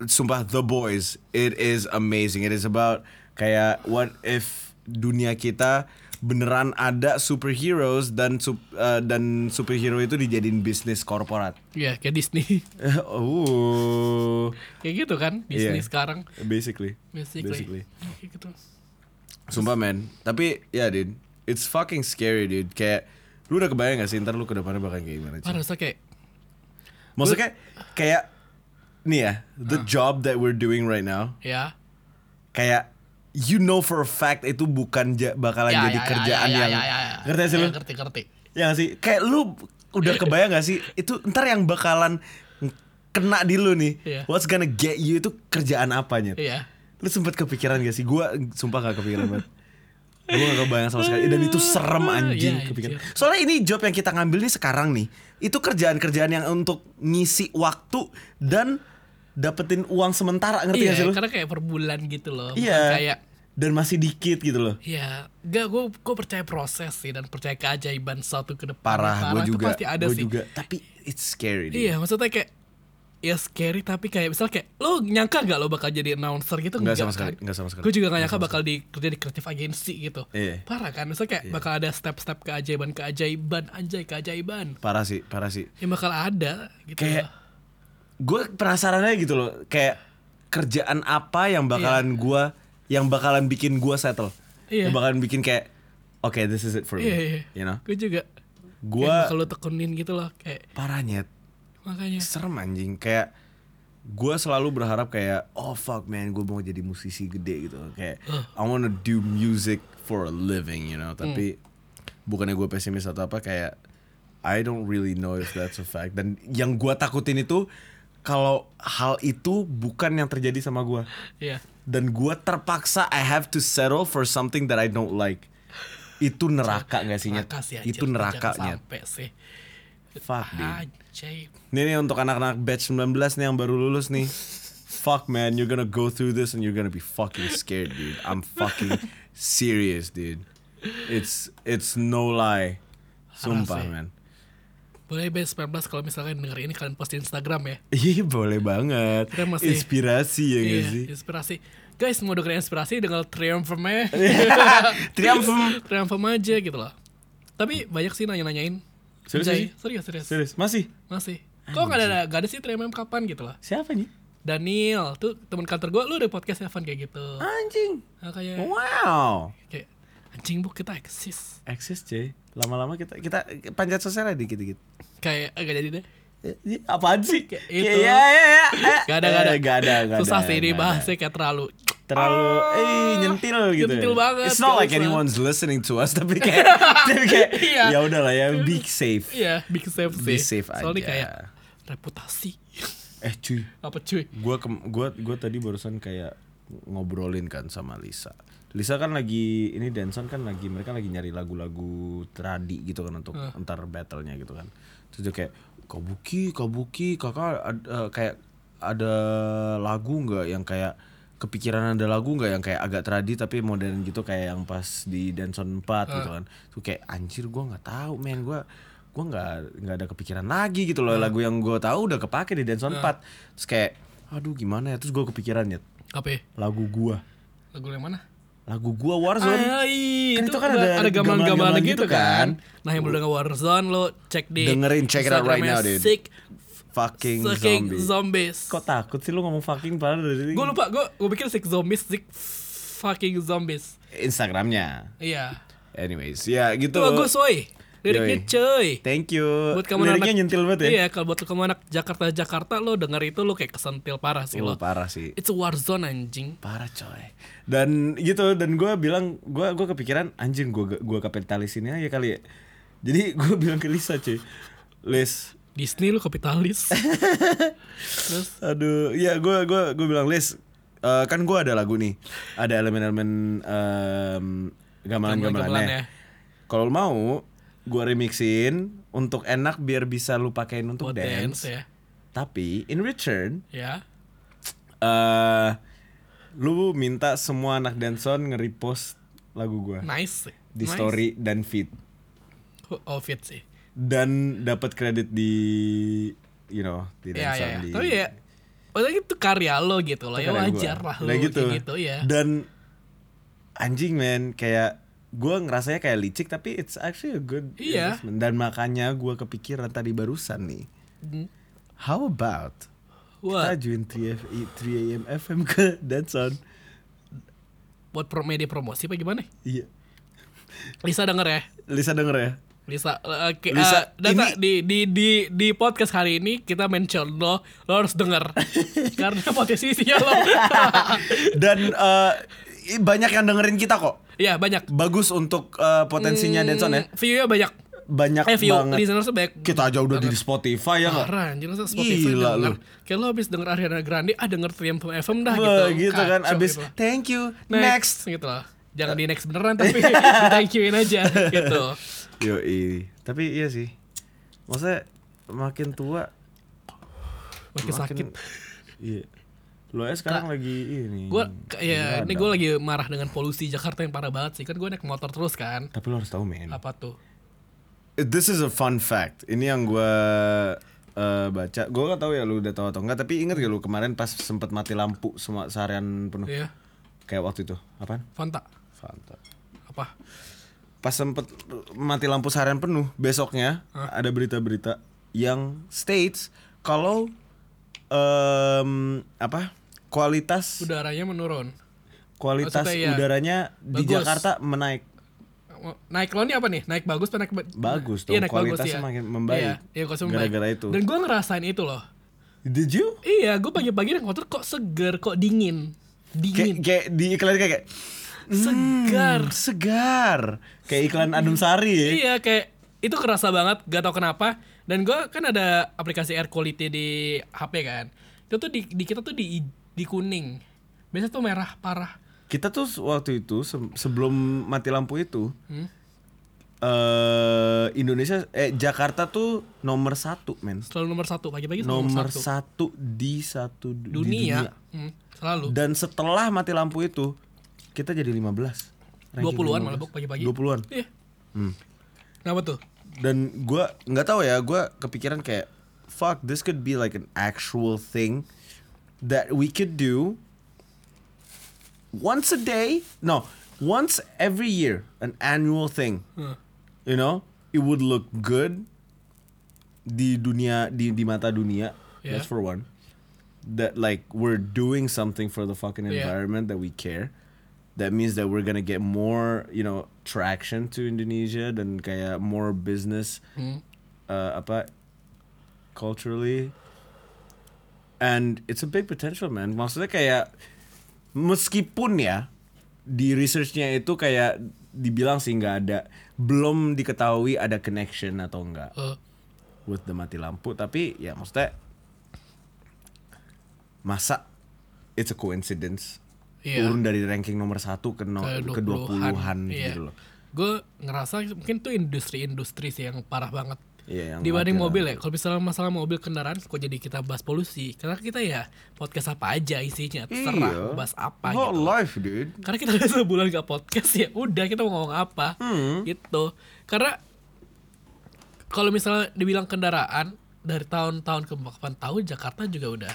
[SPEAKER 1] Sumpah The Boys, it is amazing. It is about kayak what if dunia kita beneran ada superheroes dan sup- eh, dan superhero itu dijadiin bisnis korporat.
[SPEAKER 3] Ya kayak Disney.
[SPEAKER 1] oh,
[SPEAKER 3] kayak gitu kan Disney
[SPEAKER 1] Iya.
[SPEAKER 3] sekarang.
[SPEAKER 1] basically.
[SPEAKER 3] Basically.
[SPEAKER 1] Basically.
[SPEAKER 3] Kayak gitu.
[SPEAKER 1] Sumpah man, tapi ya dude, it's fucking scary dude. Kayak lu udah kebayang gak sih ntar lu ke depannya bakal kayak gimana? Ci?
[SPEAKER 3] Parah so kayak
[SPEAKER 1] Maksudnya kayak nih ya, the
[SPEAKER 3] Ah.
[SPEAKER 1] job that we're doing right now,
[SPEAKER 3] ya.
[SPEAKER 1] kayak you know for a fact itu bukan ja- bakalan
[SPEAKER 3] Ya,
[SPEAKER 1] jadi
[SPEAKER 3] ya, ya,
[SPEAKER 1] kerjaan
[SPEAKER 3] ya, ya,
[SPEAKER 1] yang
[SPEAKER 3] ya, ya, ya.
[SPEAKER 1] ngerti gak sih
[SPEAKER 3] Ya,
[SPEAKER 1] lu?
[SPEAKER 3] Ngerti ngerti.
[SPEAKER 1] Ya gak sih? Kayak lu udah kebayang gak sih itu ntar yang bakalan kena di lu nih.
[SPEAKER 3] Iya.
[SPEAKER 1] What's gonna get you itu kerjaan apanya?
[SPEAKER 3] Iya.
[SPEAKER 1] Lu sempet kepikiran gak sih? Gua sumpah gak kepikiran banget. gue gak kebayang sama sekali dan itu serem anjing
[SPEAKER 3] Iya,
[SPEAKER 1] kepikiran
[SPEAKER 3] anjir.
[SPEAKER 1] soalnya ini job yang kita ngambil nih sekarang nih itu kerjaan-kerjaan yang untuk ngisi waktu dan dapetin uang sementara ngerti
[SPEAKER 3] Iya,
[SPEAKER 1] gak sih lu
[SPEAKER 3] karena kayak per bulan gitu loh. bukan
[SPEAKER 1] iya
[SPEAKER 3] Kayak
[SPEAKER 1] dan masih dikit gitu loh
[SPEAKER 3] Ya, enggak gue gue percaya proses sih dan percaya keajaiban suatu ke depan.
[SPEAKER 1] parah, gue
[SPEAKER 3] itu
[SPEAKER 1] juga
[SPEAKER 3] pasti ada
[SPEAKER 1] gue
[SPEAKER 3] sih.
[SPEAKER 1] juga tapi it's scary dude.
[SPEAKER 3] Iya, maksudnya kayak ya scary tapi kayak misal kayak lo nyangka nggak lo bakal jadi announcer gitu
[SPEAKER 1] Nggak sama sekali, nggak sama sekali.
[SPEAKER 3] Gue juga nggak nyangka bakal di kerja di creative agency gitu.
[SPEAKER 1] Iya.
[SPEAKER 3] Parah kan, maksudnya kayak bakal ada step-step keajaiban keajaiban anjay keajaiban
[SPEAKER 1] parah sih parah sih
[SPEAKER 3] yang bakal ada gitu.
[SPEAKER 1] kayak gue penasaran aja gitu loh kayak kerjaan apa yang bakalan gua yang bakalan bikin gua settle
[SPEAKER 3] Iya.
[SPEAKER 1] yang bakalan bikin kayak oke this is it for
[SPEAKER 3] Iya,
[SPEAKER 1] me
[SPEAKER 3] iya.
[SPEAKER 1] you know
[SPEAKER 3] Gue juga.
[SPEAKER 1] Gua-
[SPEAKER 3] kalau tekunin gitu loh kayak
[SPEAKER 1] parah nyet
[SPEAKER 3] makanya.
[SPEAKER 1] serem anjing kayak gua selalu berharap kayak oh fuck man gue mau jadi musisi gede gitu kayak I wanna do music for a living you know tapi
[SPEAKER 3] Hmm.
[SPEAKER 1] bukannya gue pesimis atau apa kayak I don't really know if that's a fact dan yang gua takutin itu kalau hal itu bukan yang terjadi sama gua
[SPEAKER 3] Iya.
[SPEAKER 1] dan gua terpaksa I have to settle for something that I don't like itu neraka nggak sih Nyet?
[SPEAKER 3] Neraka sih, anjir.
[SPEAKER 1] itu neraka
[SPEAKER 3] Jangan
[SPEAKER 1] Nyet.
[SPEAKER 3] sampai sih.
[SPEAKER 1] fuck dude
[SPEAKER 3] Anjay.
[SPEAKER 1] Nih nih untuk anak-anak batch 19 nih yang baru lulus nih. Fuck man, you're gonna go through this and you're gonna be fucking scared, dude. I'm fucking serious, dude. It's it's no lie. Sumpah,
[SPEAKER 3] sih.
[SPEAKER 1] man.
[SPEAKER 3] Boleh base 19 kalau misalkan denger ini kalian post di Instagram ya.
[SPEAKER 1] Iya, boleh banget.
[SPEAKER 3] Kita masih-
[SPEAKER 1] Inspirasi ya gak sih?
[SPEAKER 3] Iya, inspirasi. Guys, mau dengerin inspirasi dengan Triumphem-nya.
[SPEAKER 1] Iya. Triumph.
[SPEAKER 3] Triumphem aja gitu loh. Tapi banyak sih nanya-nanyain.
[SPEAKER 1] Serius
[SPEAKER 3] Anjay.
[SPEAKER 1] sih?
[SPEAKER 3] Serius, serius.
[SPEAKER 1] Serius, masih?
[SPEAKER 3] Masih. Kok gak ada, gak ada sih Triumphem kapan gitu loh.
[SPEAKER 1] Siapa nih?
[SPEAKER 3] Daniel, tuh teman kantor gue, lu udah podcast Evan kayak gitu.
[SPEAKER 1] Anjing.
[SPEAKER 3] Nah, kayak,
[SPEAKER 1] Wow.
[SPEAKER 3] kayak, anjing bu kita eksis.
[SPEAKER 1] Eksis, Jay. Lama-lama kita kita panjat sosial dikit-dikit.
[SPEAKER 3] Kayak, agak jadi deh.
[SPEAKER 1] Eh, Apaan sih?
[SPEAKER 3] Kayak itu.
[SPEAKER 1] Iya, iya, iya. eh.
[SPEAKER 3] Gak ada, gak ada.
[SPEAKER 1] Eh, Gak ada, gak ada.
[SPEAKER 3] Susah sih ini
[SPEAKER 1] gak ada.
[SPEAKER 3] bahasnya kayak terlalu.
[SPEAKER 1] terlalu eh nyentil gitu.
[SPEAKER 3] Nyentil banget,
[SPEAKER 1] It's not
[SPEAKER 3] gak
[SPEAKER 1] like
[SPEAKER 3] usah.
[SPEAKER 1] anyone's listening to us tapi kayak tapi kayak
[SPEAKER 3] Iya.
[SPEAKER 1] ya udahlah ya be safe.
[SPEAKER 3] Iya, big safe sih.
[SPEAKER 1] Be safe
[SPEAKER 3] Soalnya
[SPEAKER 1] aja.
[SPEAKER 3] kayak reputasi.
[SPEAKER 1] Eh cuy,
[SPEAKER 3] Apa cuy?
[SPEAKER 1] gua kem- gua gua tadi barusan kayak ngobrolin kan sama Lisa. Lisa kan lagi ini Danson kan lagi mereka lagi nyari lagu-lagu tradi gitu kan untuk ntar battle-nya gitu kan. Terus dia kayak Kabuki, Kabuki, Kakak ad- eh, kayak ada lagu nggak yang kayak kepikiran ada lagu nggak yang kayak agak tradi tapi modern gitu kayak yang pas di Danson 4 gitu
[SPEAKER 3] Ah.
[SPEAKER 1] kan. Tuh kayak anjir gua nggak tahu men gua gua nggak nggak ada kepikiran lagi gitu loh
[SPEAKER 3] Ah.
[SPEAKER 1] lagu yang gua tahu udah kepake di Danson 4. Terus kayak aduh gimana ya terus gua kepikiran ya
[SPEAKER 3] Apa ya?
[SPEAKER 1] lagu gua
[SPEAKER 3] Lagu yang mana?
[SPEAKER 1] lagu gua Warzone
[SPEAKER 3] Ah, iya,
[SPEAKER 1] Kan
[SPEAKER 3] itu,
[SPEAKER 1] itu kan
[SPEAKER 3] ada,
[SPEAKER 1] ada
[SPEAKER 3] ada gamelan-gamelan
[SPEAKER 1] gamelan-gamelan gitu
[SPEAKER 3] gitu kan.
[SPEAKER 1] kan.
[SPEAKER 3] Nah yang belum denger Warzone lo cek di
[SPEAKER 1] Dengerin, check it out right
[SPEAKER 3] Instagramnya
[SPEAKER 1] now, dude.
[SPEAKER 3] Sick
[SPEAKER 1] fucking
[SPEAKER 3] Sucking
[SPEAKER 1] zombie.
[SPEAKER 3] Zombies.
[SPEAKER 1] Kok takut sih lu ngomong fucking padahal dari tadi
[SPEAKER 3] Gue lupa gue gue pikir Sick Zombies Sick Fucking Zombies.
[SPEAKER 1] Instagramnya.
[SPEAKER 3] Iya.
[SPEAKER 1] Anyways, ya gitu.
[SPEAKER 3] Itu bagus woi. Liriknya
[SPEAKER 1] Yoi.
[SPEAKER 3] cuy.
[SPEAKER 1] Thank you.
[SPEAKER 3] Buat kamu
[SPEAKER 1] Liriknya
[SPEAKER 3] anak,
[SPEAKER 1] nyentil banget ya.
[SPEAKER 3] Iya, kalau buat kamu anak Jakarta Jakarta lo denger itu lo kayak kesentil parah sih
[SPEAKER 1] Oh,
[SPEAKER 3] lo.
[SPEAKER 1] parah sih.
[SPEAKER 3] It's a Warzone anjing.
[SPEAKER 1] Parah coy. Dan gitu dan gua bilang gua gua kepikiran anjing gua gua kapitalisinnya ya kali ya. Jadi gua bilang ke Lisa cuy. Lis,
[SPEAKER 3] Disney lo kapitalis. Terus
[SPEAKER 1] Aduh, ya gua gua gua bilang Liz, eh, kan gua ada lagu nih, ada elemen-elemen em,
[SPEAKER 3] Gamelan-gamelannya.
[SPEAKER 1] gamelan-gamelannya. Kalau lu mau, gua remixin untuk enak biar bisa lu pakein untuk
[SPEAKER 3] buat dance,
[SPEAKER 1] Oh, dance.
[SPEAKER 3] ya.
[SPEAKER 1] Tapi in return,
[SPEAKER 3] Ya.
[SPEAKER 1] eh lu minta semua anak danson nge-repost lagu gua
[SPEAKER 3] Nice. sih.
[SPEAKER 1] di
[SPEAKER 3] Nice.
[SPEAKER 1] story dan feed
[SPEAKER 3] Oh, fit sih.
[SPEAKER 1] dan dapat kredit di you know di
[SPEAKER 3] Iya,
[SPEAKER 1] danson
[SPEAKER 3] iya,
[SPEAKER 1] di
[SPEAKER 3] iya. Tapi ya, maksudnya itu karya lo gitu loh, ya
[SPEAKER 1] Itu karya
[SPEAKER 3] wajar
[SPEAKER 1] gua.
[SPEAKER 3] lah lo
[SPEAKER 1] Nah,
[SPEAKER 3] gitu. gitu ya.
[SPEAKER 1] Dan anjing men kayak gue ngerasanya kayak licik tapi it's actually a good
[SPEAKER 3] Iya.
[SPEAKER 1] investment. Dan makanya gue kepikiran tadi barusan nih.
[SPEAKER 3] Hmm.
[SPEAKER 1] How about
[SPEAKER 3] Wah,
[SPEAKER 1] kita join 3 3 AM FM ke Danson?
[SPEAKER 3] buat pro media promosi apa gimana?
[SPEAKER 1] Iya.
[SPEAKER 3] Lisa denger ya.
[SPEAKER 1] Lisa denger ya?
[SPEAKER 3] Lisa, eh, ke- eh,
[SPEAKER 1] Lisa,
[SPEAKER 3] data
[SPEAKER 1] ini-
[SPEAKER 3] di, di di di podcast hari ini kita mention lo, lo harus denger karena posisinya lo.
[SPEAKER 1] Dan eh, banyak yang dengerin kita kok.
[SPEAKER 3] ya banyak.
[SPEAKER 1] Bagus untuk eh, potensinya Danson ya.
[SPEAKER 3] View-nya banyak.
[SPEAKER 1] Banyak
[SPEAKER 3] Eh view,
[SPEAKER 1] banget.
[SPEAKER 3] listeners banyak.
[SPEAKER 1] Kita aja udah di Spotify ya nggak?
[SPEAKER 3] Parah, anjir masa Spotify
[SPEAKER 1] Gila lu.
[SPEAKER 3] denger. Kayak lo habis denger Ariana Grande, ah denger Triumph FM dah
[SPEAKER 1] Wah,
[SPEAKER 3] gitu.
[SPEAKER 1] gitu kan
[SPEAKER 3] Kacau
[SPEAKER 1] abis
[SPEAKER 3] gitu.
[SPEAKER 1] thank you
[SPEAKER 3] Next,
[SPEAKER 1] next
[SPEAKER 3] gitu loh. jangan di next beneran tapi thank youin aja gitu
[SPEAKER 1] Yoi. Tapi iya sih. Maksudnya makin tua
[SPEAKER 3] makin sakit
[SPEAKER 1] Iya. Lu aja sekarang lagi ini.
[SPEAKER 3] gue ya
[SPEAKER 1] Gila
[SPEAKER 3] ini gue
[SPEAKER 1] dong.
[SPEAKER 3] lagi marah dengan polusi Jakarta yang parah banget sih kan gue naik motor terus kan
[SPEAKER 1] Tapi lu harus tahu, men. Eh,
[SPEAKER 3] apa tuh
[SPEAKER 1] This is a fun fact. Ini yang gue baca. Gue gak tahu ya lu udah tahu atau enggak, tapi inget gak lu kemarin pas sempet mati lampu semua seharian penuh.
[SPEAKER 3] Iya.
[SPEAKER 1] Kayak waktu itu. Apaan?
[SPEAKER 3] Fanta
[SPEAKER 1] Fanta.
[SPEAKER 3] apa
[SPEAKER 1] Pas sempet mati lampu seharian penuh, besoknya ada berita-berita yang states kalau em, apa? kualitas
[SPEAKER 3] udaranya menurun
[SPEAKER 1] kualitas
[SPEAKER 3] Maksudnya oh, ya,
[SPEAKER 1] udaranya di
[SPEAKER 3] bagus.
[SPEAKER 1] Jakarta menaik.
[SPEAKER 3] naik lo ini apa nih naik bagus apa naik ba-
[SPEAKER 1] Bagus dong,
[SPEAKER 3] iya, naik bagus,
[SPEAKER 1] kualitasnya
[SPEAKER 3] iya.
[SPEAKER 1] makin membaik.
[SPEAKER 3] iya, iya, kualitasnya membaik.
[SPEAKER 1] Gara-gara itu.
[SPEAKER 3] dan gue ngerasain itu loh
[SPEAKER 1] Did you?
[SPEAKER 3] iya gue pagi-pagi naik motor kok seger kok dingin
[SPEAKER 1] Kayak
[SPEAKER 3] dingin
[SPEAKER 1] kayak di iklan kayak kayak,
[SPEAKER 3] segar
[SPEAKER 1] "Hmm, segar. Kayak iklan Adem Sari ya.
[SPEAKER 3] Iya kayak itu kerasa banget gak tau kenapa dan gue kan ada aplikasi air quality di HP kan itu tuh di, di kita tuh di di kuning biasa tuh merah parah
[SPEAKER 1] Kita tuh waktu itu se- sebelum mati lampu itu
[SPEAKER 3] Hmm?
[SPEAKER 1] eh Indonesia eh Jakarta tuh nomor satu men
[SPEAKER 3] selalu nomor satu pagi-pagi selalu nomor,
[SPEAKER 1] nomor
[SPEAKER 3] satu
[SPEAKER 1] satu di satu du- di
[SPEAKER 3] dunia, Hmm, selalu
[SPEAKER 1] dunia. dan setelah mati lampu itu kita jadi 15 Ranking 15.
[SPEAKER 3] 20-an malah Bok, pagi-pagi
[SPEAKER 1] 20-an
[SPEAKER 3] iya
[SPEAKER 1] Hmm.
[SPEAKER 3] kenapa tuh
[SPEAKER 1] dan gua nggak tahu ya gua kepikiran kayak fuck this could be like an actual thing that we could do once a day no once every year an annual thing
[SPEAKER 3] Hmm.
[SPEAKER 1] you know it would look good di dunia di di mata dunia
[SPEAKER 3] Yeah.
[SPEAKER 1] that's for one that like we're doing something for the fucking
[SPEAKER 3] Yeah.
[SPEAKER 1] environment that we care that means that we're gonna get more you know traction to Indonesia dan kayak more business
[SPEAKER 3] Hmm,
[SPEAKER 1] uh, apa culturally and it's a big potential man maksudnya kayak meskipun ya di researchnya itu kayak dibilang sih nggak ada belum diketahui ada connection atau enggak
[SPEAKER 3] Eh,
[SPEAKER 1] with the mati lampu tapi ya maksudnya masa it's a coincidence
[SPEAKER 3] Iya.
[SPEAKER 1] turun dari ranking nomor satu ke no,
[SPEAKER 3] ke
[SPEAKER 1] Oh, ke 20-an
[SPEAKER 3] 20-an, iya.
[SPEAKER 1] gitu loh
[SPEAKER 3] Gue ngerasa mungkin tuh industri-industri sih yang parah banget.
[SPEAKER 1] Iya, yang
[SPEAKER 3] Dibanding
[SPEAKER 1] mati
[SPEAKER 3] mobil ya, kalau misalnya masalah mobil kendaraan, kok jadi kita bahas polusi? Karena kita ya podcast apa aja isinya, terserah
[SPEAKER 1] Iya.
[SPEAKER 3] bahas apa
[SPEAKER 1] Whole
[SPEAKER 3] gitu.
[SPEAKER 1] life dude
[SPEAKER 3] Karena kita udah sebulan gak podcast ya, udah kita mau ngomong apa
[SPEAKER 1] Hmm.
[SPEAKER 3] gitu. Karena kalau misalnya dibilang kendaraan dari tahun-tahun ke kapan tahun Jakarta juga udah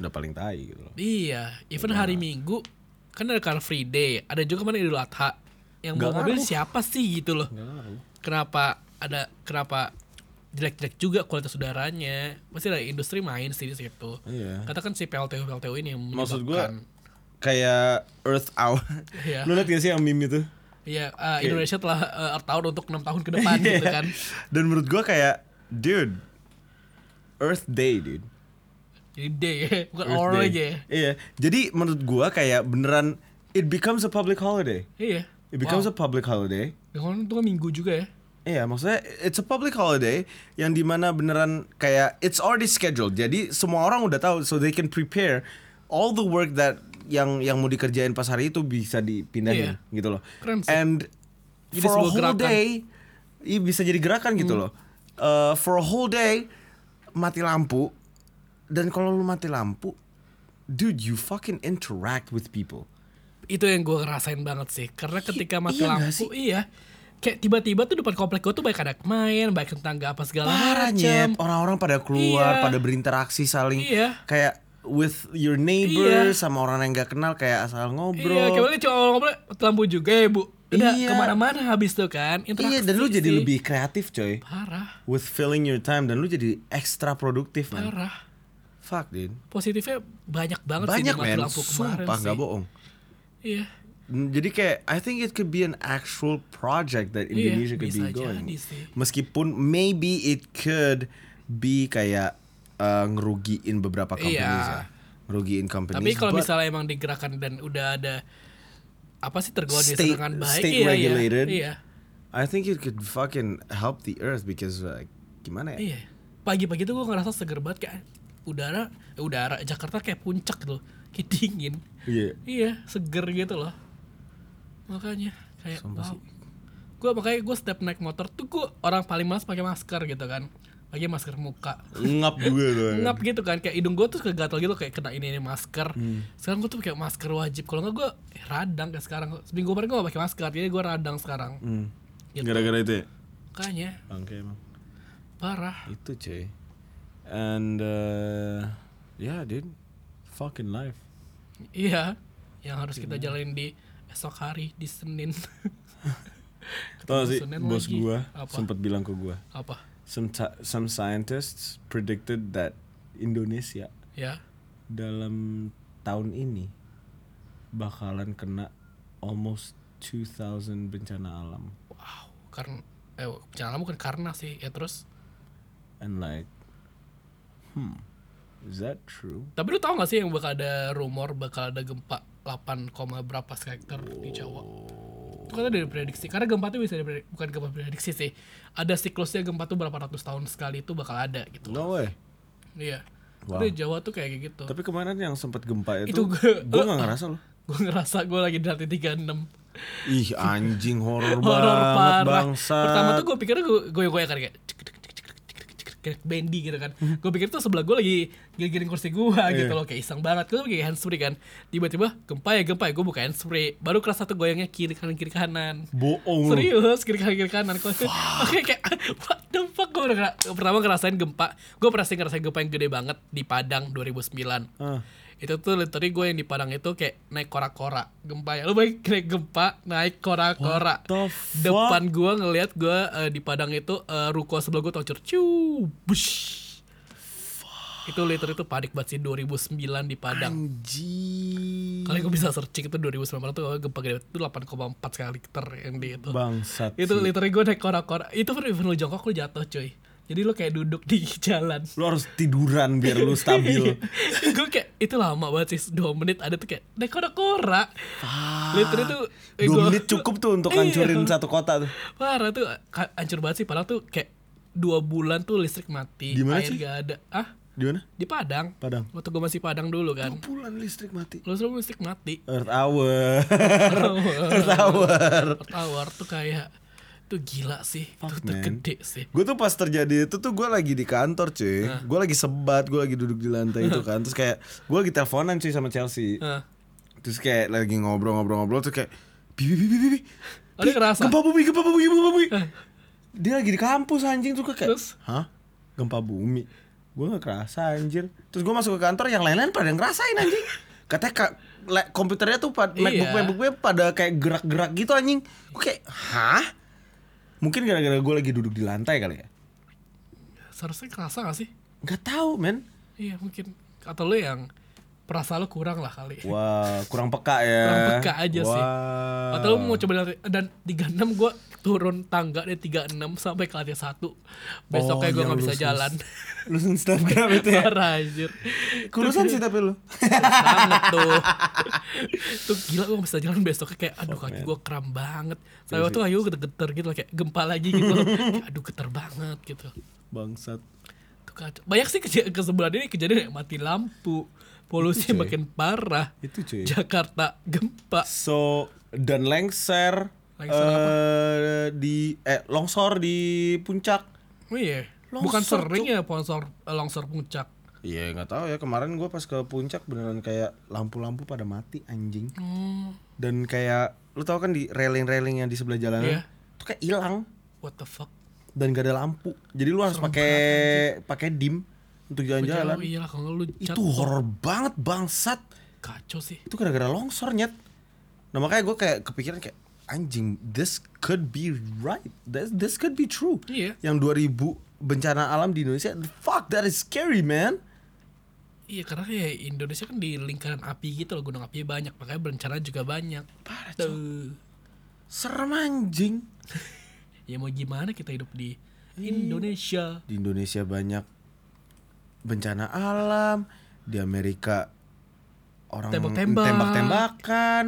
[SPEAKER 1] udah paling tai gitu loh
[SPEAKER 3] Iya, even hari Minggu kan ada Car Free Day, ada juga kemarin Idul Adha. Yang
[SPEAKER 1] Nggak
[SPEAKER 3] bawa mobil
[SPEAKER 1] ngaruh.
[SPEAKER 3] siapa sih gitu loh? Kenapa ada kenapa jelek-jelek juga kualitas udaranya? Pasti ada industri main sih di situ.
[SPEAKER 1] Iya.
[SPEAKER 3] Katakan si PLTU PLTU ini yang
[SPEAKER 1] Maksud
[SPEAKER 3] menyebabkan-
[SPEAKER 1] kayak Earth Hour
[SPEAKER 3] Iya.
[SPEAKER 1] lu liat gak sih yang meme itu
[SPEAKER 3] Iya, eh, Indonesia telah eh, tahun untuk enam tahun ke depan
[SPEAKER 1] Iya.
[SPEAKER 3] gitu kan.
[SPEAKER 1] dan menurut gua kayak dude Earth Day dude
[SPEAKER 3] Jadi day, bukan
[SPEAKER 1] Earth
[SPEAKER 3] hour
[SPEAKER 1] Day.
[SPEAKER 3] aja ya.
[SPEAKER 1] Iya. Jadi menurut gua kayak beneran it becomes a public holiday.
[SPEAKER 3] Iya.
[SPEAKER 1] It becomes a public holiday.
[SPEAKER 3] Dengan itu kan minggu juga ya.
[SPEAKER 1] Iya, maksudnya it's a public holiday yang dimana beneran kayak it's already scheduled. Jadi semua orang udah tahu, so they can prepare all the work that yang yang mau dikerjain pas hari itu bisa dipindahin
[SPEAKER 3] Iya.
[SPEAKER 1] gitu loh.
[SPEAKER 3] Keren sih.
[SPEAKER 1] And
[SPEAKER 3] Jadi
[SPEAKER 1] for a
[SPEAKER 3] sebuah
[SPEAKER 1] whole
[SPEAKER 3] gerakan. Hmm.
[SPEAKER 1] day, iya bisa jadi gerakan gitu loh. Uh, for a whole day mati lampu dan kalau lu mati lampu, dude you fucking interact with people.
[SPEAKER 3] itu yang gue ngerasain banget sih karena ketika mati
[SPEAKER 1] iya
[SPEAKER 3] lampu
[SPEAKER 1] nggak sih?
[SPEAKER 3] iya kayak tiba-tiba tuh depan komplek gue tuh baik anak main baik tetangga apa segala
[SPEAKER 1] parah
[SPEAKER 3] macam
[SPEAKER 1] Nyet. orang-orang pada keluar
[SPEAKER 3] Iya.
[SPEAKER 1] pada berinteraksi saling
[SPEAKER 3] Iya.
[SPEAKER 1] kayak with your neighbor
[SPEAKER 3] Iya.
[SPEAKER 1] sama orang yang nggak kenal kayak asal ngobrol
[SPEAKER 3] iya kayak boleh cuma ngobrol mati lampu juga ya bu udah
[SPEAKER 1] Iya.
[SPEAKER 3] kemana-mana habis tuh kan
[SPEAKER 1] Iya, dan lu
[SPEAKER 3] Interaksi
[SPEAKER 1] jadi
[SPEAKER 3] sih.
[SPEAKER 1] lebih kreatif coy
[SPEAKER 3] parah
[SPEAKER 1] with filling your time dan lu jadi ekstra produktif man
[SPEAKER 3] parah
[SPEAKER 1] fuck dude
[SPEAKER 3] positifnya banyak banget sih
[SPEAKER 1] banyak
[SPEAKER 3] di mati
[SPEAKER 1] man
[SPEAKER 3] lampu kemarin
[SPEAKER 1] sumpah
[SPEAKER 3] sih
[SPEAKER 1] nggak bohong
[SPEAKER 3] iya
[SPEAKER 1] Mm, jadi kayak I think it could be an actual project that
[SPEAKER 3] Iya,
[SPEAKER 1] Indonesia could be
[SPEAKER 3] bisa
[SPEAKER 1] going
[SPEAKER 3] jadi sih.
[SPEAKER 1] meskipun maybe it could be kayak uh, ngerugiin beberapa companies ya
[SPEAKER 3] Iya.
[SPEAKER 1] ngerugiin companies
[SPEAKER 3] tapi kalau
[SPEAKER 1] but-
[SPEAKER 3] misalnya emang digerakkan dan udah ada apa sih tergoda
[SPEAKER 1] State-
[SPEAKER 3] dengan baik
[SPEAKER 1] state
[SPEAKER 3] iya,
[SPEAKER 1] regulated.
[SPEAKER 3] iya
[SPEAKER 1] I think it could fucking help the earth because like gimana ya?
[SPEAKER 3] Iya. Pagi-pagi tuh gue ngerasa seger banget kayak udara, eh, udara Jakarta kayak puncak gitu. Kayak dingin.
[SPEAKER 1] Iya.
[SPEAKER 3] Iya, seger gitu loh. makanya kayak
[SPEAKER 1] Sumpah
[SPEAKER 3] wow
[SPEAKER 1] sih.
[SPEAKER 3] gue makanya gue setiap naik motor tuh gue orang paling males pakai masker gitu kan lagi masker muka
[SPEAKER 1] ngap juga tuh
[SPEAKER 3] ngap gitu kan kayak hidung gue tuh suka gatal gitu kayak kena ini ini masker
[SPEAKER 1] Hmm.
[SPEAKER 3] sekarang gue tuh pakai masker wajib kalau nggak gue radang kayak sekarang seminggu kemarin gue gak pakai masker jadi gue radang sekarang
[SPEAKER 1] Hmm.
[SPEAKER 3] Gitu.
[SPEAKER 1] gara-gara itu ya
[SPEAKER 3] makanya
[SPEAKER 1] bangke emang
[SPEAKER 3] parah
[SPEAKER 1] itu cuy and uh, yeah dude fucking life
[SPEAKER 3] iya yang harus kita jalanin di esok hari di senin
[SPEAKER 1] tau gak sih
[SPEAKER 3] Senin
[SPEAKER 1] bos
[SPEAKER 3] lagi.
[SPEAKER 1] gua
[SPEAKER 3] Apa?
[SPEAKER 1] sempat bilang ke gua
[SPEAKER 3] apa
[SPEAKER 1] some ti- some scientists predicted that Indonesia
[SPEAKER 3] ya
[SPEAKER 1] dalam tahun ini bakalan kena almost 2000 bencana alam
[SPEAKER 3] wow karena eh jangan bukan karena sih ya terus
[SPEAKER 1] and like hmm is that true
[SPEAKER 3] tapi lu tau gak sih yang bakal ada rumor bakal ada gempa 8, koma berapa skala di Jawa itu kan dari prediksi karena gempa tuh bisa diprediksi bukan gempa prediksi sih ada siklusnya gempa tuh berapa ratus tahun sekali itu bakal ada gitu
[SPEAKER 1] no way
[SPEAKER 3] iya
[SPEAKER 1] Wow.
[SPEAKER 3] Tapi di Jawa tuh kayak gitu
[SPEAKER 1] tapi kemarin yang sempat gempa itu,
[SPEAKER 3] Itu gua-
[SPEAKER 1] gua nggak ngerasa loh
[SPEAKER 3] gue ngerasa gue lagi di lantai 36
[SPEAKER 1] ih anjing horor
[SPEAKER 3] horor
[SPEAKER 1] banget
[SPEAKER 3] parah.
[SPEAKER 1] bangsa
[SPEAKER 3] Pertama tuh gue pikirnya gue gue gue kan kayak cek, cek, cek, cek, cek, cek, cek, kayak bendy gitu kan.
[SPEAKER 1] Hmm.
[SPEAKER 3] Gue pikir tuh sebelah gue lagi gil-gilin kursi gue
[SPEAKER 1] Iya.
[SPEAKER 3] gitu loh kayak iseng banget. Gue pakai handsfree kan. Tiba-tiba gempa ya gempa ya gue buka handsfree. Baru kerasa tuh goyangnya kiri kanan kiri kanan.
[SPEAKER 1] bohong lu.
[SPEAKER 3] Serius kiri kanan kiri kanan. Oke kayak what the fuck gue udah ngera- pertama ngerasain gempa. Gue pernah sih ngerasain gempa yang gede banget di Padang 2009
[SPEAKER 1] Ah,
[SPEAKER 3] itu tuh literally gue yang di Padang itu kayak naik kora-kora gempa ya lu baik naik gempa naik kora-kora
[SPEAKER 1] What the fuck?
[SPEAKER 3] depan gue ngelihat gue eh, di Padang itu eh, ruko sebelah gue tocor ciu bush itu literally itu panik banget sih 2009 di Padang
[SPEAKER 1] anjing
[SPEAKER 3] kali gue bisa searching itu 2009 itu gempa gede itu 8,4 kali Richter yang di itu
[SPEAKER 1] bangsat
[SPEAKER 3] itu
[SPEAKER 1] sih.
[SPEAKER 3] literally gue naik kora-kora itu pun even lu jongkok lu jatuh cuy jadi lu kayak duduk di jalan
[SPEAKER 1] lu harus tiduran biar lu
[SPEAKER 3] Iya.
[SPEAKER 1] stabil
[SPEAKER 3] gue kayak itu lama banget sih dua menit ada tuh kayak dekora kora literally tuh eh,
[SPEAKER 1] dua
[SPEAKER 3] gua-
[SPEAKER 1] menit cukup tuh untuk
[SPEAKER 3] Iya.
[SPEAKER 1] hancurin satu kota tuh
[SPEAKER 3] parah tuh ka- hancur banget sih padahal tuh kayak dua bulan tuh listrik mati
[SPEAKER 1] Di mana
[SPEAKER 3] air
[SPEAKER 1] sih?
[SPEAKER 3] gak ada ah
[SPEAKER 1] di mana
[SPEAKER 3] di Padang
[SPEAKER 1] Padang.
[SPEAKER 3] waktu gue masih Padang dulu kan
[SPEAKER 1] bulan listrik mati
[SPEAKER 3] lu semua listrik mati
[SPEAKER 1] Earth Hour
[SPEAKER 3] tower
[SPEAKER 1] Tower
[SPEAKER 3] tower tuh kayak tuh gila sih
[SPEAKER 1] Fuck,
[SPEAKER 3] itu tuh
[SPEAKER 1] man.
[SPEAKER 3] gede sih
[SPEAKER 1] Gue tuh pas terjadi itu tuh gue lagi di kantor cuy Gue lagi sebat, gue lagi duduk di lantai itu kan Terus kayak gue lagi teleponan cuy sama Chelsea
[SPEAKER 3] Heeh.
[SPEAKER 1] Terus kayak lagi ngobrol-ngobrol-ngobrol terus kayak Bibi, bibi, bibi,
[SPEAKER 3] Oh, dia ngerasa?
[SPEAKER 1] Gempa bumi, gempa bumi, gempa bumi
[SPEAKER 3] Eh,
[SPEAKER 1] Dia lagi di kampus anjing Terus gue kayak
[SPEAKER 3] Terus?
[SPEAKER 1] Hah? Gempa bumi? Gue gak kerasa anjir Terus gue masuk ke kantor yang lain-lain pada ngerasain anjing Katanya ka, la- komputernya tuh pad,
[SPEAKER 3] Iya.
[SPEAKER 1] Macbook, Macbook gue pada kayak gerak-gerak gitu anjing Gue kayak Hah? Mungkin gara-gara gue lagi duduk di lantai kali ya
[SPEAKER 3] seharusnya kerasa gak sih
[SPEAKER 1] Gak tahu men
[SPEAKER 3] iya mungkin atau lu yang perasaan lu kurang lah kali
[SPEAKER 1] Wah kurang peka ya
[SPEAKER 3] Kurang peka aja sih.
[SPEAKER 1] Wah.
[SPEAKER 3] Atau lu mau coba dari- dan 36 gue turun tangga dari 36 sampai ke lantai 1 Besoknya gue
[SPEAKER 1] yang
[SPEAKER 3] gak bisa
[SPEAKER 1] lurus,
[SPEAKER 3] jalan
[SPEAKER 1] Lu Instagram itu ya
[SPEAKER 3] Parah anjir
[SPEAKER 1] Kurusan sih tapi lu
[SPEAKER 3] Sangat tuh Tuh gila gue gak bisa jalan besoknya kayak Aduh kaki gue kram banget
[SPEAKER 1] Iya
[SPEAKER 3] Sampai waktu ayo geter-geter gitu loh, Kayak gempa lagi gitu loh. Kayak, Aduh geter banget gitu
[SPEAKER 1] Bangsat
[SPEAKER 3] Tuh kacau. Banyak sih kej- kesebelah ini kejadian yang mati lampu Polusi
[SPEAKER 1] Itu, cuy.
[SPEAKER 3] makin parah
[SPEAKER 1] Itu cuy
[SPEAKER 3] Jakarta gempa
[SPEAKER 1] So dan lengser
[SPEAKER 3] Lengser
[SPEAKER 1] eh, di eh longsor di puncak.
[SPEAKER 3] Oh iya Bukan
[SPEAKER 1] Longsor,
[SPEAKER 3] sering ya longsor, longsor puncak
[SPEAKER 1] Iya nggak tahu ya kemarin gue pas ke puncak beneran kayak lampu-lampu pada mati anjing
[SPEAKER 3] Hmm,
[SPEAKER 1] dan kayak lu tahu kan di railing-railing yang di sebelah jalanan
[SPEAKER 3] Iya.
[SPEAKER 1] itu kayak hilang
[SPEAKER 3] What the fuck
[SPEAKER 1] dan gak ada lampu jadi lu harus pakai pakai dim untuk
[SPEAKER 3] Jalan.
[SPEAKER 1] jalan-jalan
[SPEAKER 3] Iya lah kalau lu
[SPEAKER 1] itu horor banget bangsat
[SPEAKER 3] kacau sih.
[SPEAKER 1] itu gara-gara longsor nyet nah makanya gue kayak kepikiran kayak anjing this could be right this this could be true
[SPEAKER 3] Iya.
[SPEAKER 1] yang 2000 bencana alam di Indonesia fuck that is scary man
[SPEAKER 3] Iya karena ya Indonesia kan di lingkaran api gitu loh gunung api banyak makanya berencana juga banyak.
[SPEAKER 1] Parah, Cok.
[SPEAKER 3] Tuh.
[SPEAKER 1] serem anjing
[SPEAKER 3] Ya mau gimana kita hidup di
[SPEAKER 1] Iya.
[SPEAKER 3] Indonesia.
[SPEAKER 1] di Indonesia banyak bencana alam di Amerika orang
[SPEAKER 3] Tembak-tembak.
[SPEAKER 1] tembak-tembakan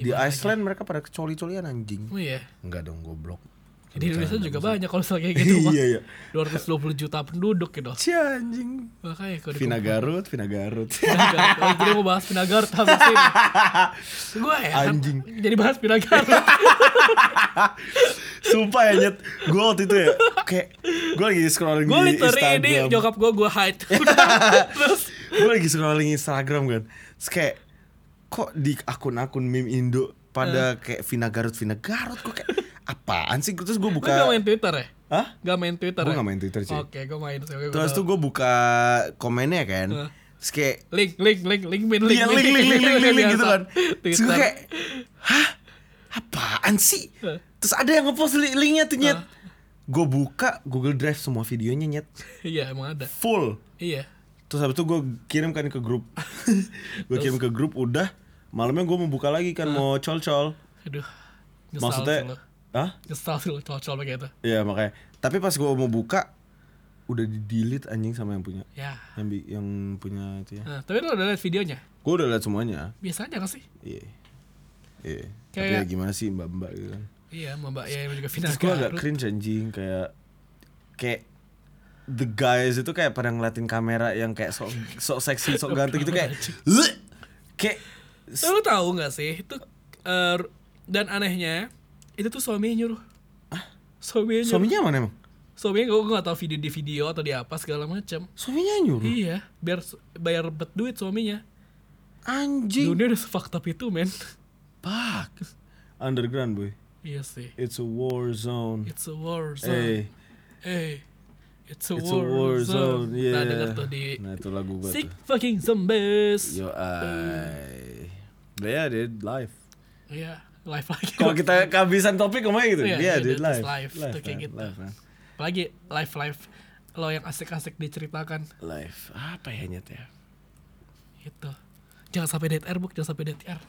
[SPEAKER 3] Di
[SPEAKER 1] di
[SPEAKER 3] mana
[SPEAKER 1] Iceland mereka pada kecoli-colian anjing
[SPEAKER 3] Oh iya.
[SPEAKER 1] Enggak dong goblok
[SPEAKER 3] Di Indonesia juga banyak kalau misalnya kayak gitu Pak.
[SPEAKER 1] Iya, iya.
[SPEAKER 3] 220 juta penduduk gitu.
[SPEAKER 1] Cia anjing.
[SPEAKER 3] Makanya kalau
[SPEAKER 1] Vina
[SPEAKER 3] dikumpul-
[SPEAKER 1] Garut, Vina Garut.
[SPEAKER 3] Pinagar. Oh, jadi mau bahas Pinagar habis ini. Gue ya.
[SPEAKER 1] Anjing.
[SPEAKER 3] Jadi bahas Pinagar.
[SPEAKER 1] Sumpah ya nyet Gue waktu itu ya Kayak Gue lagi scrolling
[SPEAKER 3] gue
[SPEAKER 1] di
[SPEAKER 3] literally
[SPEAKER 1] Instagram
[SPEAKER 3] ini nyokap gue gue hide. Terus
[SPEAKER 1] Gue lagi scrolling Instagram kan Terus kayak Kok di akun-akun meme Indo Pada kayak Vina Garut Vina Garut Gue kayak Apaan sih Terus gue
[SPEAKER 3] lu gak
[SPEAKER 1] buka
[SPEAKER 3] main Twitter ya?
[SPEAKER 1] Hah?
[SPEAKER 3] Gak main Twitter
[SPEAKER 1] Gue
[SPEAKER 3] ya?
[SPEAKER 1] gak main Twitter sih
[SPEAKER 3] Oke, gue main. Oke, gua
[SPEAKER 1] Terus
[SPEAKER 3] tahu.
[SPEAKER 1] tuh gue buka Komennya kan
[SPEAKER 3] Heeh.
[SPEAKER 1] Terus kayak
[SPEAKER 3] link link link link min link
[SPEAKER 1] Iya link link link link link, link, gitu
[SPEAKER 3] biasa.
[SPEAKER 1] kan Terus gue
[SPEAKER 3] Twitter.
[SPEAKER 1] kayak Hah? Apaan sih?
[SPEAKER 3] Heeh.
[SPEAKER 1] Terus ada yang ngepost li- linknya tuh nyet Gue buka Google Drive semua videonya nyet
[SPEAKER 3] Iya, emang ada.
[SPEAKER 1] Full
[SPEAKER 3] Iya.
[SPEAKER 1] Terus habis itu gue kirim kan ke grup Gue kirim ke grup udah Malamnya gue mau buka lagi kan mau col-col
[SPEAKER 3] Aduh. Nyesal sih
[SPEAKER 1] Maksudnya
[SPEAKER 3] lu.
[SPEAKER 1] Hah?
[SPEAKER 3] Nyesal sih lu cocok kayak gitu.
[SPEAKER 1] Iya makanya Tapi pas gue mau buka Udah di delete anjing sama yang punya
[SPEAKER 3] Ya.
[SPEAKER 1] Yang, bi- yang punya itu ya
[SPEAKER 3] Nah, tapi lu udah liat videonya?
[SPEAKER 1] Gue udah liat semuanya
[SPEAKER 3] Biasa aja gak sih?
[SPEAKER 1] Iya Iya Tapi
[SPEAKER 3] Kayak-
[SPEAKER 1] ya gimana sih mbak-mbak gitu kan
[SPEAKER 3] Iya, sama Mbak ya juga Vina
[SPEAKER 1] Terus gue agak
[SPEAKER 3] Garut.
[SPEAKER 1] cringe anjing Kayak Kayak The guys itu kayak pada ngeliatin kamera yang kayak sok sok seksi, sok ganteng gitu kayak "Leh!" Kayak
[SPEAKER 3] Tapi Lu tahu nggak sih itu eh, dan anehnya itu tuh suaminya nyuruh. Suaminya nyuruh.
[SPEAKER 1] Suaminya mana emang?
[SPEAKER 3] Suaminya gue gak tau video di video atau di apa segala macam.
[SPEAKER 1] Suaminya yang nyuruh?
[SPEAKER 3] Iya, biar su- bayar bet duit suaminya.
[SPEAKER 1] Anjing.
[SPEAKER 3] Dunia udah se-fucked up itu, men.
[SPEAKER 1] Pak. Underground boy.
[SPEAKER 3] Iya sih.
[SPEAKER 1] It's a war zone.
[SPEAKER 3] It's a war zone.
[SPEAKER 1] Hey,
[SPEAKER 3] Hey. It's a
[SPEAKER 1] it's a
[SPEAKER 3] war,
[SPEAKER 1] war zone.
[SPEAKER 3] zone.
[SPEAKER 1] Yeah.
[SPEAKER 3] Nah, denger tuh di
[SPEAKER 1] Nah, itu lagu gua
[SPEAKER 3] Sick
[SPEAKER 1] tuh.
[SPEAKER 3] fucking zombies.
[SPEAKER 1] Yo I. They are did live.
[SPEAKER 3] Iya, live lagi.
[SPEAKER 1] Kalau kita kehabisan topik kemana gitu? Dia
[SPEAKER 3] Iya, iya,
[SPEAKER 1] yeah,
[SPEAKER 3] dia
[SPEAKER 1] did live.
[SPEAKER 3] terus live, tuh kayak
[SPEAKER 1] man,
[SPEAKER 3] gitu.
[SPEAKER 1] live, man.
[SPEAKER 3] Apalagi live live lo yang asik-asik diceritakan
[SPEAKER 1] Live. Apa ya nyet ya?
[SPEAKER 3] gitu. Jangan sampai dead air, Buk. Jangan sampai dead air.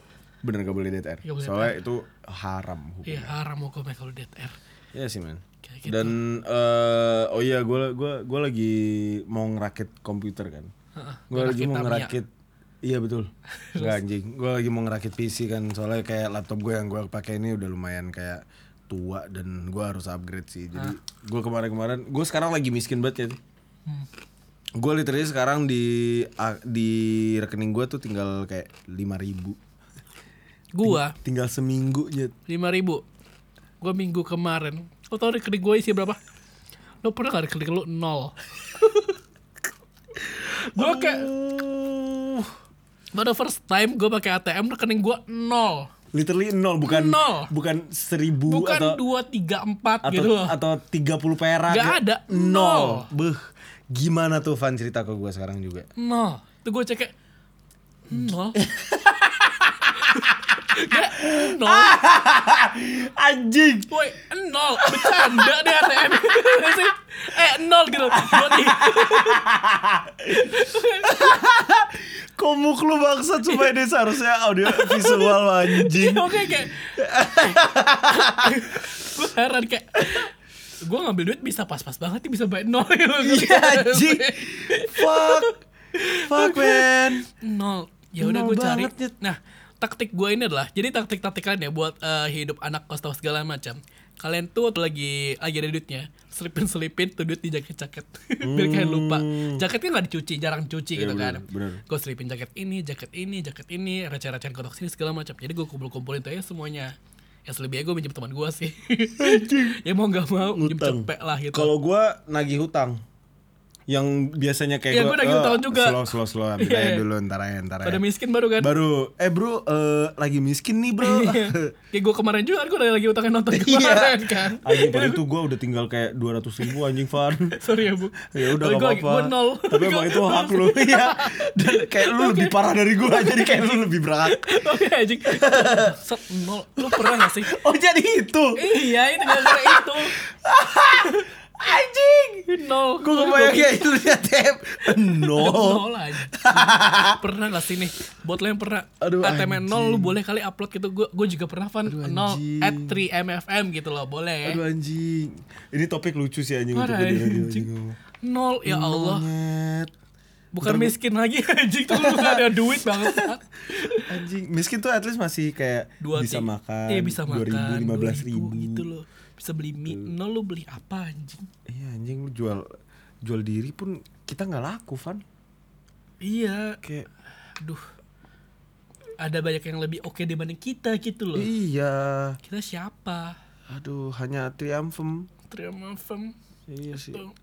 [SPEAKER 1] Bener gak boleh dead air.
[SPEAKER 3] Nggak boleh
[SPEAKER 1] Soalnya itu haram
[SPEAKER 3] Iya,
[SPEAKER 1] hukumnya.
[SPEAKER 3] haram hukumnya kalau dead air.
[SPEAKER 1] Iya sih man.
[SPEAKER 3] Kayak gitu.
[SPEAKER 1] Dan eh oh iya gue gua gua lagi mau ngerakit komputer kan.
[SPEAKER 3] Heeh,
[SPEAKER 1] Gue lagi
[SPEAKER 3] ngerakit
[SPEAKER 1] mau
[SPEAKER 3] Tamiya.
[SPEAKER 1] ngerakit Iya betul. Enggak anjing. Gue lagi mau ngerakit PC kan. Soalnya kayak laptop gue yang gue pakai ini udah lumayan kayak tua dan gue harus upgrade sih. Jadi gue kemarin-kemarin, gue sekarang lagi miskin banget ya.
[SPEAKER 3] Hmm.
[SPEAKER 1] Gue literally sekarang di a- di rekening gue tuh tinggal kayak lima ribu.
[SPEAKER 3] Gua
[SPEAKER 1] Tinggal seminggu nyet.
[SPEAKER 3] 5000 ribu. Gua minggu kemarin. Lo tau rekening gua isi berapa? Lo pernah gak rekening lo nol? gua kayak
[SPEAKER 1] Uh,
[SPEAKER 3] baru first time gua pakai ATM rekening gua nol.
[SPEAKER 1] literally nol bukan
[SPEAKER 3] Nol.
[SPEAKER 1] bukan seribu atau
[SPEAKER 3] Bukan dua tiga empat
[SPEAKER 1] atau
[SPEAKER 3] gitu loh.
[SPEAKER 1] atau 30 perak.
[SPEAKER 3] Nggak
[SPEAKER 1] ya.
[SPEAKER 3] ada,
[SPEAKER 1] Nol.
[SPEAKER 3] nol.
[SPEAKER 1] Beuh. Gimana tuh Van cerita ke gue sekarang juga?
[SPEAKER 3] Nol. Tuh gua cek kayak nol. Kayak, nol.
[SPEAKER 1] Ah. Anjing.
[SPEAKER 3] Woi, nol. Bercanda deh ATM. eh, nol gitu. Dua tiga.
[SPEAKER 1] Komuk lu bangsat supaya dia seharusnya audio visual anjing.
[SPEAKER 3] Oke kayak Gue heran kayak Gue ngambil duit bisa pas-pas banget nih Bisa bayar nol gitu
[SPEAKER 1] Iya anjing. Fuck. Fuck man.
[SPEAKER 3] Nol Ya udah
[SPEAKER 1] Nol
[SPEAKER 3] gue cari
[SPEAKER 1] banget, Nyet.
[SPEAKER 3] Nah taktik gue ini adalah Jadi taktik-taktik kalian ya Buat eh, hidup anak kos atau segala macam Kalian tuh waktu lagi Lagi ada duitnya Selipin-selipin tuh duit di jaket-jaket Biar kalian lupa Jaketnya gak dicuci Jarang cuci gitu
[SPEAKER 1] Hmm. Iya, bener,
[SPEAKER 3] kan
[SPEAKER 1] bener.
[SPEAKER 3] Gue selipin jaket ini Jaket ini Jaket ini Receh-receh kotak sini segala macam Jadi gue kumpul-kumpulin tuh ya semuanya Ya selebihnya gue minjem teman gue sih Ya mau gak mau Minjem
[SPEAKER 1] Ngutang.
[SPEAKER 3] cepet lah gitu
[SPEAKER 1] Kalau gue nagih hutang yang biasanya kayak
[SPEAKER 3] Iya, gua nagih
[SPEAKER 1] eh,
[SPEAKER 3] hutang juga.
[SPEAKER 1] slow slow slow ambil
[SPEAKER 3] Iya,
[SPEAKER 1] aja
[SPEAKER 3] iya.
[SPEAKER 1] dulu ntar aja ntar aja
[SPEAKER 3] Pada miskin baru kan
[SPEAKER 1] baru eh bro eh, lagi miskin nih bro
[SPEAKER 3] Iya. Kayak gue kemarin juga kan gue udah lagi utangin nonton
[SPEAKER 1] Iya.
[SPEAKER 3] kemarin kan.
[SPEAKER 1] Anjing pada itu gue udah tinggal kayak 200 ribu anjing Van.
[SPEAKER 3] Sorry ya bu.
[SPEAKER 1] Ya udah
[SPEAKER 3] Tapi
[SPEAKER 1] gak
[SPEAKER 3] gua-
[SPEAKER 1] apa-apa.
[SPEAKER 3] gua nol.
[SPEAKER 1] Tapi emang itu hak lu
[SPEAKER 3] Iya.
[SPEAKER 1] ya. Dan kayak lu lebih parah dari gue jadi kayak lu lebih berhak.
[SPEAKER 3] Oke anjing. Set nol. Lu pernah gak sih?
[SPEAKER 1] Oh jadi itu.
[SPEAKER 3] iya itu gara-gara itu.
[SPEAKER 1] Anjing.
[SPEAKER 3] Nol.
[SPEAKER 1] Gue
[SPEAKER 3] Gua-
[SPEAKER 1] kebayang kayak gitu. itu liat tab. No.
[SPEAKER 3] nol aja. pernah gak sih nih? Buat lo yang pernah Ah,
[SPEAKER 1] Aduh,
[SPEAKER 3] ATM nol lu boleh kali upload gitu. Gue gue juga pernah fan
[SPEAKER 1] Aduh,
[SPEAKER 3] nol
[SPEAKER 1] anjing.
[SPEAKER 3] at 3 mfm gitu loh boleh.
[SPEAKER 1] Aduh anjing. Ini topik lucu sih anjing untuk gue
[SPEAKER 3] Parah,
[SPEAKER 1] di radio
[SPEAKER 3] anjing.
[SPEAKER 1] anjing.
[SPEAKER 3] Nol ya Allah.
[SPEAKER 1] Nyet.
[SPEAKER 3] Bukan miskin lagi anjing tuh lu gak ada duit banget.
[SPEAKER 1] Anjing. Miskin tuh at least masih kayak
[SPEAKER 3] dua
[SPEAKER 1] bisa
[SPEAKER 3] ti-
[SPEAKER 1] makan.
[SPEAKER 3] iya bisa makan
[SPEAKER 1] 2000, 15
[SPEAKER 3] 2000,
[SPEAKER 1] ribu.
[SPEAKER 3] gitu loh bisa sebeli mie no lu beli apa anjing
[SPEAKER 1] Iya anjing lu jual jual diri pun kita nggak laku Van.
[SPEAKER 3] iya
[SPEAKER 1] Kayak
[SPEAKER 3] aduh ada banyak yang lebih oke dibanding kita gitu loh
[SPEAKER 1] iya.
[SPEAKER 3] kita siapa
[SPEAKER 1] Aduh hanya triumphum.
[SPEAKER 3] terima fem
[SPEAKER 1] Iya sih.
[SPEAKER 3] Tuh.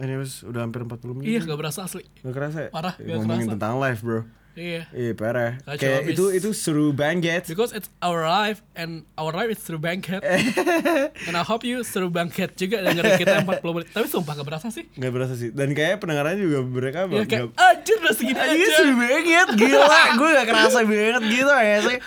[SPEAKER 1] Anyways udah hampir 40 menit.
[SPEAKER 3] iya gak berasa asli
[SPEAKER 1] Gak kerasa ya?
[SPEAKER 3] Parah, nggak
[SPEAKER 1] Ngomongin
[SPEAKER 3] kerasa.
[SPEAKER 1] tentang live bro
[SPEAKER 3] iya
[SPEAKER 1] Iya parah
[SPEAKER 3] Kacau
[SPEAKER 1] Kayak
[SPEAKER 3] abis.
[SPEAKER 1] itu itu seru banget
[SPEAKER 3] because it's our life and our life is through Bankhead and I hope you through Bankhead juga dengerin kita 40 menit tapi sumpah gak berasa sih
[SPEAKER 1] Gak berasa sih Dan kayaknya pendengarannya juga mereka
[SPEAKER 3] ya
[SPEAKER 1] nggak-
[SPEAKER 3] kayak anjir udah segini
[SPEAKER 1] Iya
[SPEAKER 3] aja
[SPEAKER 1] seru banget Gila Gue gak kerasa banget gitu ya sih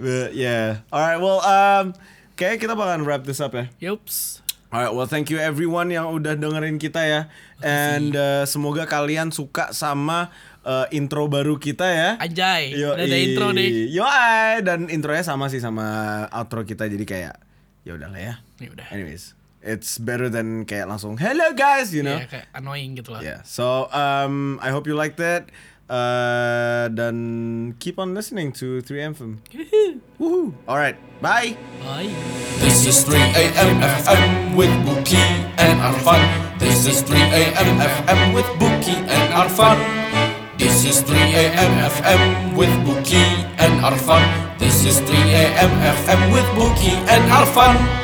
[SPEAKER 1] But yeah Alright well um, Kayaknya kita bakalan wrap this up ya
[SPEAKER 3] yups
[SPEAKER 1] Alright, well thank you everyone yang udah dengerin kita ya. And uh, semoga kalian suka sama uh, intro baru kita ya.
[SPEAKER 3] anjay
[SPEAKER 1] Yo,
[SPEAKER 3] udah ada intro nih
[SPEAKER 1] Yoi, dan intronya sama sih sama outro kita jadi kayak ya udahlah ya.
[SPEAKER 3] ya udah
[SPEAKER 1] Anyways, it's better than kayak langsung hello guys, you know.
[SPEAKER 3] ya kayak annoying gitu lah
[SPEAKER 1] Yeah. So um I hope you liked it. Uh, dan keep on listening to 3M FM. Woohoo. Alright, bye.
[SPEAKER 3] bye
[SPEAKER 2] This is 3 a.m. FM with Buki and Arfan. This is 3 a.m. FM with Buki and Arfan. This is 3 a.m. FM with Buki and Arfan. This is 3 a.m. FM with Buki and Arfan.